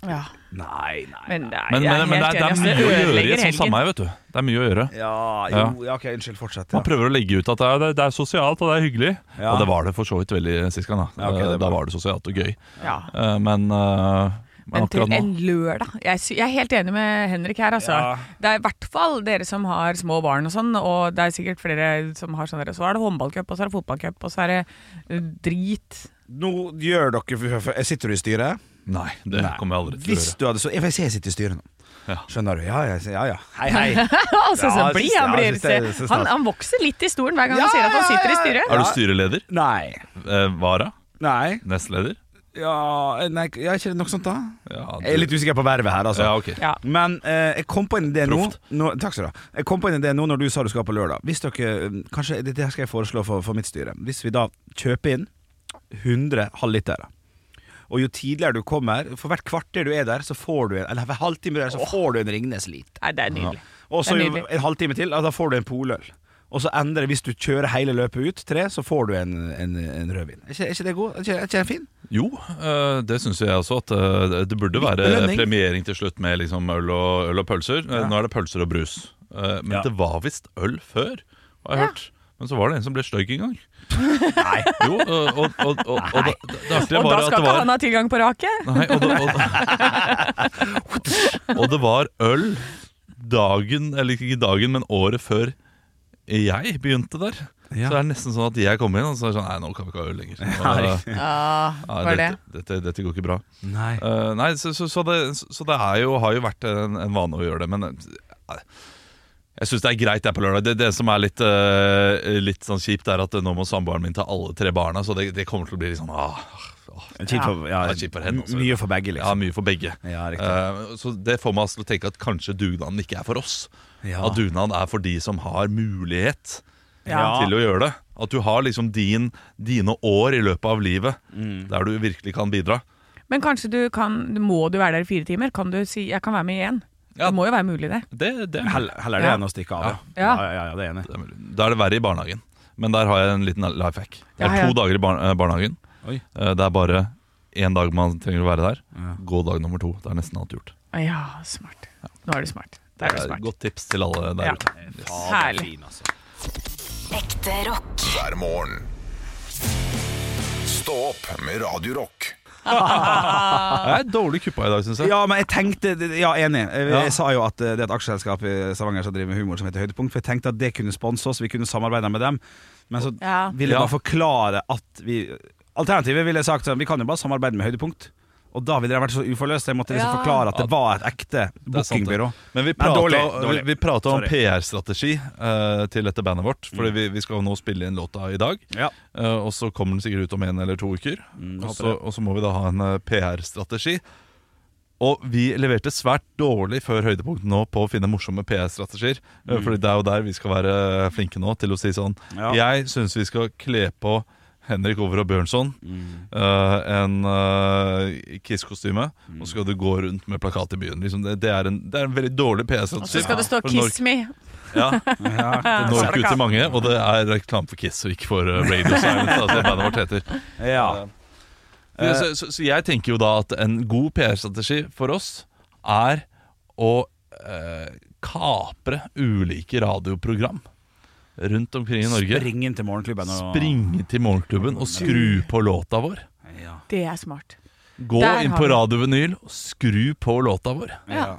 Speaker 2: Ja.
Speaker 3: Nei, nei.
Speaker 2: Men, nei,
Speaker 4: Men,
Speaker 2: jeg
Speaker 4: men, men det,
Speaker 2: helt
Speaker 4: er, det er
Speaker 2: enig,
Speaker 4: mye
Speaker 2: ass.
Speaker 4: å gjøre i
Speaker 2: ødelegger
Speaker 4: et sånt
Speaker 2: helgen.
Speaker 4: sameie, vet du. Det er mye å gjøre.
Speaker 3: Ja, jo, ja, ok, unnskyld, fortsett. Ja.
Speaker 4: Man prøver å legge ut at det er, det er sosialt og det er hyggelig.
Speaker 3: Ja.
Speaker 4: Og det var det for så vidt veldig sist gang. Da.
Speaker 3: Ja, ok, det er
Speaker 4: da
Speaker 3: bra.
Speaker 4: var det sosialt og gøy.
Speaker 2: Ja.
Speaker 4: Eh, Men, eh, men
Speaker 2: Men
Speaker 4: akkurat
Speaker 2: til
Speaker 4: nå
Speaker 2: en lørdag. Jeg, sy- jeg er helt enig med Henrik her, altså.
Speaker 3: Ja.
Speaker 2: Det er i hvert fall dere som har små barn og sånn, og det er sikkert flere som har sånn der. Så er det håndballcup, og så er det fotballcup, og så er det eh, drit.
Speaker 3: Nå gjør dere Sitter du i styret?
Speaker 4: Nei, det
Speaker 3: Nei.
Speaker 4: kommer jeg aldri til å
Speaker 3: Hvis
Speaker 4: gjøre.
Speaker 3: du hadde så Jeg jeg sitter i styret nå.
Speaker 4: Ja.
Speaker 3: Skjønner du? Ja, ja, ja. ja. Hei, hei.
Speaker 2: altså, så
Speaker 3: Ja,
Speaker 2: blid
Speaker 3: jeg
Speaker 2: han
Speaker 3: synes-
Speaker 2: blir.
Speaker 3: jeg synes det- jeg synes
Speaker 2: han,
Speaker 3: det-
Speaker 2: han vokser litt i stolen hver gang
Speaker 3: Ja,
Speaker 2: han sier at han
Speaker 3: ja,
Speaker 2: sitter i
Speaker 3: ja, ja.
Speaker 2: styret.
Speaker 4: Er du styreleder?
Speaker 3: Nei.
Speaker 4: Eh, vara?
Speaker 3: Nei.
Speaker 4: Nestleder?
Speaker 3: Ja, nei, jeg er ikke det nok sånt, da?
Speaker 4: Ja,
Speaker 3: Jeg er litt usikker på vervet her, altså.
Speaker 4: ja, ok.
Speaker 2: Ja.
Speaker 3: Men eh, jeg kom på en idé nå,
Speaker 4: Proft.
Speaker 3: nå Takk skal du ha. Jeg kom på en idé nå når du sa du skal på lørdag. Hvis dere eh, Kanskje det, det skal jeg foreslå for, for mitt styre. Hvis vi da kjøper inn 100 halvlitere. Og jo tidligere du kommer, for hvert kvarter du er der, så får du en Eller hver halvtime du er der, så får du en Ringnes Lit.
Speaker 2: Nei, det er nydelig.
Speaker 3: Og så
Speaker 2: Det er
Speaker 3: jo
Speaker 2: nydelig.
Speaker 3: en halvtime til, ja, da får du en poløl. Og så endrer det, hvis du kjører hele løpet ut, tre, så får du en, en, en rødvin. Er ikke, er ikke det god? Er ikke, er ikke den fin?
Speaker 4: Jo, eh, det syns jeg også. At eh, det burde være
Speaker 3: belønning.
Speaker 4: premiering til slutt med liksom øl, og, øl og pølser. Eh, Nå er det pølser og brus. Eh, Men
Speaker 3: Ja.
Speaker 4: det var visst øl før, har jeg hørt. Men så var det en som ble stygg en gang.
Speaker 3: Nei.
Speaker 4: Jo, eh, og, og, og, og, det, det, det artige
Speaker 2: Og
Speaker 4: var
Speaker 2: da
Speaker 4: at
Speaker 2: skal
Speaker 4: det
Speaker 2: ikke
Speaker 4: var
Speaker 2: han ha tilgang på raket?
Speaker 4: Nei, og, det, og, og det var øl dagen, eller ikke dagen, men året før jeg begynte der.
Speaker 3: Ja.
Speaker 4: Så det er nesten sånn at jeg kommer inn og så er det sånn Nei, nå kan vi ikke ha øl lenger. eh, Nå,
Speaker 2: Ja,
Speaker 4: ja,
Speaker 2: var det.
Speaker 4: dette, dette, dette går ikke bra.
Speaker 3: Nei.
Speaker 4: Eh, nei, så, så, så det, så det er jo, har jo vært en, en vane å gjøre det, men eh, jeg syns det er greit det er på lørdag. Det, det som er litt, eh, litt sånn kjipt, er at nå må samboeren min ta alle tre barna, så det, det kommer til å bli litt sånn ah, ah,
Speaker 3: Kjipt Eh, for, ja,
Speaker 4: Ja, kjipt for henne også.
Speaker 3: Mye for begge, liksom.
Speaker 4: Ja, mye for begge.
Speaker 3: Ja, riktig.
Speaker 4: Eh, så det får meg altså til å tenke at kanskje dugnaden ikke er for oss.
Speaker 3: Ja.
Speaker 4: At dugnaden er for de som har mulighet
Speaker 3: Ja.
Speaker 4: til å gjøre det. At du har liksom din, dine år i løpet av livet der du virkelig kan bidra.
Speaker 2: Men kanskje du kan Må du være der i fire timer? Kan du si 'jeg kan være med igjen'?
Speaker 4: Ja.
Speaker 2: Det må jo være mulig, det.
Speaker 4: Det, det er
Speaker 3: Hell- Heller det
Speaker 2: Ja.
Speaker 3: enn å stikke av.
Speaker 2: Ja.
Speaker 3: ja, ja, ja det er jeg enig. i.
Speaker 4: Det er mulig. Da er det verre i barnehagen. Men der har jeg en liten life hack. Det er
Speaker 2: Ja, ja.
Speaker 4: to dager i bar eh, barnehagen.
Speaker 3: Oi.
Speaker 4: Eh, Det er bare én dag man trenger å være der. Gå dag nummer to. Det er nesten alt gjort.
Speaker 2: Ja, smart. Nå er du smart. Der er
Speaker 4: Det
Speaker 2: du
Speaker 4: er et
Speaker 2: smart.
Speaker 4: Godt tips til alle der
Speaker 2: Ja.
Speaker 4: ute.
Speaker 2: Herlig.
Speaker 3: Fin, altså.
Speaker 5: Ekte rock.
Speaker 1: hver morgen. Stå opp med Radio Rock.
Speaker 4: Jeg er dårlig kuppa i dag, syns jeg.
Speaker 3: Ja, men jeg tenkte Ja, enig. Jeg,
Speaker 4: Ja.
Speaker 3: jeg sa jo at eh, det er et aksjeselskap i Stavanger som driver med humor som heter Høydepunkt, for jeg tenkte at det kunne sponse oss, vi kunne samarbeide med dem. Men så
Speaker 2: Ja.
Speaker 3: ville jeg
Speaker 4: Ja.
Speaker 3: bare forklare at vi Alternativet ville jeg sagt sånn Vi kan jo bare samarbeide med Høydepunkt. Og da ville det vært så uforløst. Jeg måtte liksom
Speaker 2: Ja.
Speaker 3: forklare at det var et
Speaker 4: Det
Speaker 3: ekte
Speaker 4: er sant, det.
Speaker 3: bookingbyrå.
Speaker 4: Men vi
Speaker 3: Nei,
Speaker 4: prata,
Speaker 3: dårlig, dårlig.
Speaker 4: Vi, vi prata om
Speaker 3: Sorry.
Speaker 4: PR-strategi eh, til dette bandet vårt. Fordi vi, vi skal jo nå spille inn låta i dag.
Speaker 3: Ja.
Speaker 4: eh, og så kommer den sikkert ut om en eller to uker. og,
Speaker 3: Mm, håper
Speaker 4: så, og så må vi da ha en eh, PR-strategi. Og vi leverte svært dårlig før høydepunktet nå på å finne morsomme PR-strategier. Mm. Fordi det er jo der vi skal være flinke nå til å si sånn
Speaker 3: Ja.
Speaker 4: Jeg syns vi skal kle på Henrik Over og Bjørnson
Speaker 3: Mm.
Speaker 4: eh, en eh, Kiss-kostyme,
Speaker 3: Mm.
Speaker 4: og så skal du gå rundt med plakat i byen. Liksom det, det, er en, det er en veldig dårlig
Speaker 2: Og så
Speaker 4: PS-strategi.
Speaker 2: skal det stå
Speaker 4: For
Speaker 2: 'kiss me'.
Speaker 4: Ja,
Speaker 3: Ja.
Speaker 4: det når ikke ut til mange, og det er reklame for Kiss og ikke for eh, Radio Silence. Altså bandet vårt heter
Speaker 3: ja.
Speaker 2: Eh,
Speaker 4: så, altså, så, så jeg tenker jo da at en god PR-strategi for oss er å eh, kapre ulike radioprogram rundt omkring i Norge.
Speaker 3: Spring inn til morgenklubben. Og...
Speaker 4: Springe til morgenklubben og skru på låta vår.
Speaker 3: Ja.
Speaker 2: Det er smart.
Speaker 4: Gå
Speaker 2: Der
Speaker 4: inn
Speaker 2: har
Speaker 4: på
Speaker 2: vi.
Speaker 4: Radio Vinyl og skru på låta vår.
Speaker 3: Ja.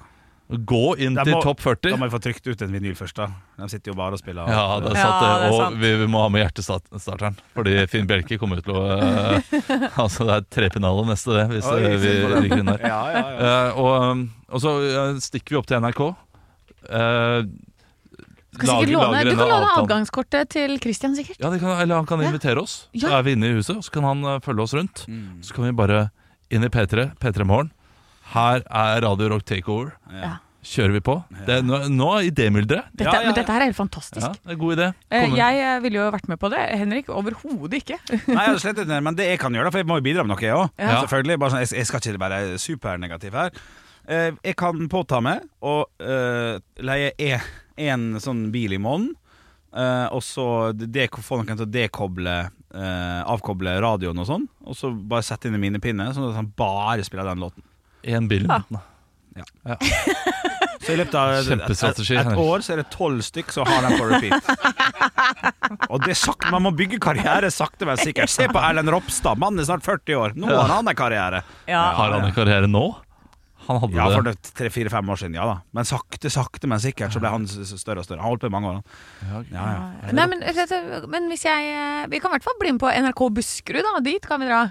Speaker 4: Gå inn
Speaker 3: Da
Speaker 4: til
Speaker 3: må-
Speaker 4: topp 40.
Speaker 3: Da må vi få trykt ut en vinyl først, da. De sitter jo bare og spiller.
Speaker 4: Ja, det er
Speaker 2: Ja,
Speaker 4: sant det.
Speaker 2: det er
Speaker 4: Og
Speaker 2: sant.
Speaker 4: vi, vi må ha med hjertestarteren. Fordi Finn Bjelke kommer jo til å eh, Altså, det er trepinale neste, det, hvis
Speaker 3: Oi,
Speaker 4: eh, vi
Speaker 3: fint på den.
Speaker 4: rykker inn der.
Speaker 3: ja, ja, ja.
Speaker 4: Eh, og, um, og så eh, stikker vi opp til NRK. Uh,
Speaker 2: Skal sikkert låne, du kan låne adgangskortet til Christian, sikkert.
Speaker 4: Ja, det kan, Eller han kan
Speaker 2: Ja.
Speaker 4: invitere oss. Så
Speaker 2: Ja.
Speaker 4: er vi inne i huset, og så kan han eh, følge oss rundt. Så kan vi bare inn i P3, P3 Morgen. Her er Radio Rock Takeover.
Speaker 2: Ja.
Speaker 4: Kjører vi på? Det er, nå, nå er idémylderet.
Speaker 2: Dette,
Speaker 3: Ja, ja, ja.
Speaker 2: Men dette her er helt fantastisk.
Speaker 4: Ja, det er god idé.
Speaker 2: Eh,
Speaker 4: Kommer-
Speaker 2: Jeg eh, ville jo vært med på det. Henrik overhodet ikke.
Speaker 3: Nei, jeg hadde slettet den, men det jeg kan gjøre, da, for jeg må jo bidra med noe, jeg òg.
Speaker 4: Ja.
Speaker 3: Selvfølgelig. Bare sånn, jeg, jeg skal ikke være supernegativ her. Eh, Jeg kan påta meg å eh, leie e- en sånn bil i måneden, eh, og så de- få noen til å dekoble eh, avkoble radioen og sånn, og så bare sette inn en minnepinne, sånn at han bare spiller den låten.
Speaker 4: En bil i måneden.
Speaker 3: Så i løpet av et, et,
Speaker 4: Kjempestrategi,
Speaker 3: et
Speaker 4: Henrik.
Speaker 3: år så er det tolv stykk som har den på repeat. Og det er sakte, Man må bygge karriere sakte, men sikkert. Se på Erlend Ropstad, mannen er snart 40 år. Nå har han en karriere.
Speaker 4: Har han en karriere nå? Han hadde
Speaker 3: Ja, for
Speaker 4: det.
Speaker 3: det- tre-fire-fem år siden, ja da. Men sakte, sakte, men sikkert så ble han s- s- større og større. Han holdt på i mange år.
Speaker 4: Ja,
Speaker 3: han.
Speaker 4: ok.
Speaker 3: Ja, ja.
Speaker 2: Nei, men, dette- men hvis jeg eh, Vi kan i hvert fall bli med på NRK Buskerud, da. Dit kan vi dra.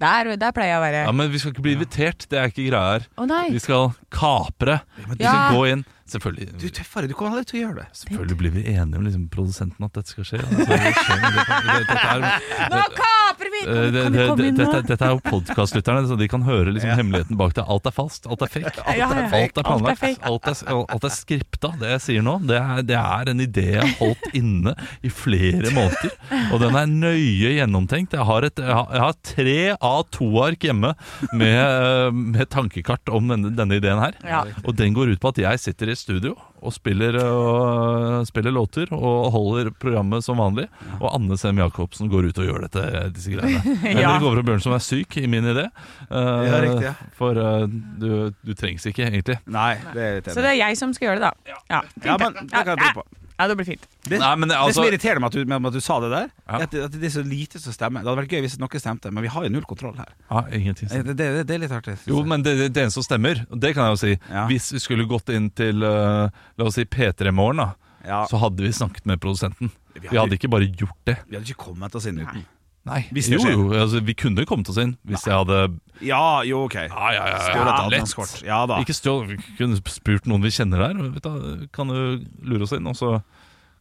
Speaker 2: Der, der pleier jeg å være.
Speaker 4: Ja, men vi skal ikke bli invitert. Det er ikke greia her.
Speaker 2: Å nei.
Speaker 4: Vi skal kapre. Vi
Speaker 2: Ja.
Speaker 4: skal gå inn. Selvfølgelig,
Speaker 3: Du tøffere, du kommer aldri til å gjøre det.
Speaker 4: selvfølgelig blir vi enige om liksom, produsenten at dette skal skje. Altså, det skjer, men dette- dette- dette er-
Speaker 2: Nå kaprer vi!
Speaker 4: eh,
Speaker 2: Kan vi-
Speaker 4: det-
Speaker 2: Kan vi komme
Speaker 4: det-
Speaker 2: inn
Speaker 4: Dette
Speaker 2: nå?
Speaker 4: dette er jo podkastlytterne, så de kan høre liksom, hemmeligheten bak det. Alt er fast, alt er fake.
Speaker 2: Ja, ja.
Speaker 4: Alt er
Speaker 2: Alt er
Speaker 4: planlagt.
Speaker 2: fake.
Speaker 4: Alt er, alt er skripta. Det jeg sier nå, det er, det er en idé jeg har holdt inne i flere måneder. Og den er nøye gjennomtenkt. Jeg har, et, jeg har, jeg har tre A2-ark hjemme med, eh, med tankekart om denne, denne ideen her.
Speaker 2: Ja.
Speaker 4: Og den går ut på at jeg sitter i studio og spiller, øh, spiller låter og holder programmet som vanlig. Og Anne Sem Jacobsen går ut og gjør dette, disse greiene.
Speaker 2: Ja.
Speaker 4: Henrik Over og Bjørnson er syk i min idé. Eh,
Speaker 3: Ja, riktig, ja.
Speaker 4: For eh, du, du trengs ikke, egentlig.
Speaker 3: Nei, det er litt
Speaker 2: Så det er jeg som skal gjøre det, da. Ja, fint,
Speaker 3: Ja, men det
Speaker 2: ja,
Speaker 3: kan jeg tro på.
Speaker 2: ja, det blir fint.
Speaker 3: Det,
Speaker 4: Nei, men
Speaker 3: det som
Speaker 4: altså
Speaker 3: irriterer meg at du, med at du sa det der,
Speaker 4: Ja.
Speaker 3: er at, det- at det er så lite som stemmer. Det hadde vært gøy hvis noe stemte, men vi har jo null kontroll her.
Speaker 4: ja, Ah, ingenting.
Speaker 3: Det, det, det, det er litt artig. synes
Speaker 4: Eh, Jo,
Speaker 3: jeg.
Speaker 4: men det, det- det eneste som stemmer, og det kan jeg jo si
Speaker 3: Ja.
Speaker 4: Hvis vi skulle gått inn til eh, la oss si P3 Morgen, da,
Speaker 3: ja.
Speaker 4: så hadde vi snakket med produsenten.
Speaker 3: Vi
Speaker 4: Vi
Speaker 3: hadde-
Speaker 4: hadde ikke bare gjort det.
Speaker 3: Vi hadde ikke kommet oss inn uten.
Speaker 4: Nei,
Speaker 3: Hvis
Speaker 4: jo,
Speaker 3: det skjer.
Speaker 4: jo, altså, Vi kunne kommet oss inn hvis jeg hadde
Speaker 3: Ja, jo, OK.
Speaker 4: Ja, ja, ja,
Speaker 3: Stjålet
Speaker 4: ja,
Speaker 3: adgangskort. Ja da.
Speaker 4: Ikke stjål, vi kunne spurt noen vi kjenner der. og Vet du, kan du lure oss inn, og så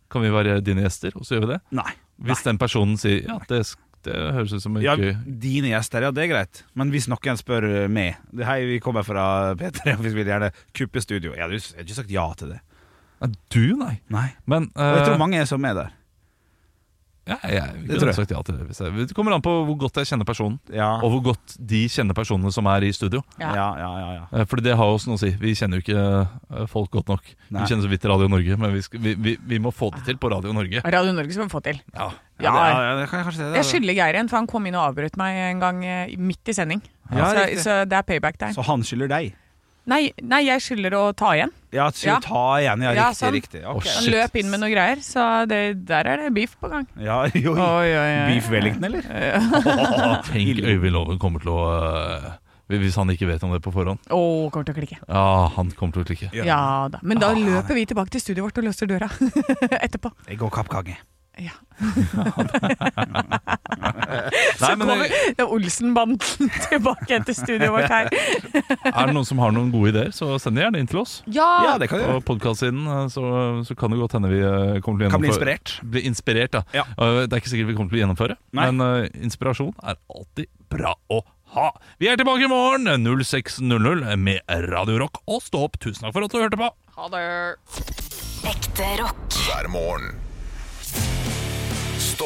Speaker 4: kan vi være dine gjester, og så gjør vi det.
Speaker 3: Nei.
Speaker 4: Hvis den personen sier ja, det, sk- det høres ut som en
Speaker 3: Ja,
Speaker 4: gøy
Speaker 3: dine gjester, ja, det er greit. Men hvis noen spør eh, meg det- Hei, vi kommer fra P3, og vi vil gjerne kuppe studio. Jeg hadde jo s- jeg hadde ikke sagt ja til det.
Speaker 4: Nei, Du, nei.
Speaker 3: Nei.
Speaker 4: Men
Speaker 3: Og jeg tror
Speaker 4: eh,
Speaker 3: mange er som er der.
Speaker 4: ja, jeg
Speaker 3: tror
Speaker 4: kunne
Speaker 3: jeg.
Speaker 4: sagt ja til det. Hvis jeg, det kommer an på hvor godt jeg kjenner personen,
Speaker 3: Ja,
Speaker 4: og hvor godt de kjenner personene som er i studio.
Speaker 3: ja, ja, ja, ja.
Speaker 4: Eh, Fordi det har også noe å si. Vi kjenner jo ikke eh, folk godt nok.
Speaker 3: Nei.
Speaker 4: Vi kjenner så vidt Radio Norge, men vi, skal, vi, vi, vi må få det til på Radio Norge.
Speaker 2: Radio Norge skal vi få til.
Speaker 4: Ja,
Speaker 2: Ja,
Speaker 3: det, ja, det kan jeg kanskje si.
Speaker 2: Jeg
Speaker 3: Det,
Speaker 2: skylder Geir en, for han kom inn og avbrøt meg en gang eh, midt i sending.
Speaker 3: Ja,
Speaker 2: så,
Speaker 3: riktig.
Speaker 2: så det er payback der.
Speaker 3: Så han skylder deg?
Speaker 2: Nei, nei, jeg skylder å ta igjen.
Speaker 3: Ja, så
Speaker 2: Ja.
Speaker 3: ta igjen. Ja,
Speaker 2: Ja,
Speaker 3: riktig.
Speaker 2: sånn.
Speaker 3: riktig. Ok.
Speaker 4: Å,
Speaker 2: Han
Speaker 4: Shit.
Speaker 2: løp inn med noe greier, så det, der er det beef på gang.
Speaker 3: Ja, jo.
Speaker 2: Oi, oi, oi.
Speaker 3: Beef Wellington, eller?
Speaker 4: Tenk Øyvind Loven kommer til å eh, Hvis han ikke vet om det på forhånd.
Speaker 2: Å, kommer til å klikke.
Speaker 4: Ja, han kommer til å klikke.
Speaker 3: Ah,
Speaker 2: Ja da. Men da løper vi tilbake til studioet vårt og låser døra etterpå.
Speaker 3: Jeg går kappkange.
Speaker 2: Ja.
Speaker 4: Nei,
Speaker 2: Så
Speaker 4: men
Speaker 2: kommer
Speaker 4: eh,
Speaker 2: det er Olsenbanden tilbake til studioet vårt her.
Speaker 4: Er det noen som har noen gode ideer, så send det gjerne inn til oss.
Speaker 3: Ja,
Speaker 2: Ja,
Speaker 3: det kan jeg
Speaker 4: På
Speaker 3: gjøre.
Speaker 4: podkastsiden eh, så, så kan det godt hende vi eh, kommer til å
Speaker 3: Kan bli
Speaker 4: gjennomføre-
Speaker 3: inspirert.
Speaker 4: Bli inspirert, ja.
Speaker 3: Ja.
Speaker 4: Eh, Det er ikke sikkert vi kommer til å gjennomføre,
Speaker 3: Nei.
Speaker 4: men eh, inspirasjon er alltid bra å ha. Vi er tilbake i morgen eh, 06.00 med Radio Rock og Stå opp. Tusen takk for at du hørte på.
Speaker 2: ha det.
Speaker 5: Ekte rock.
Speaker 1: hver morgen. Stå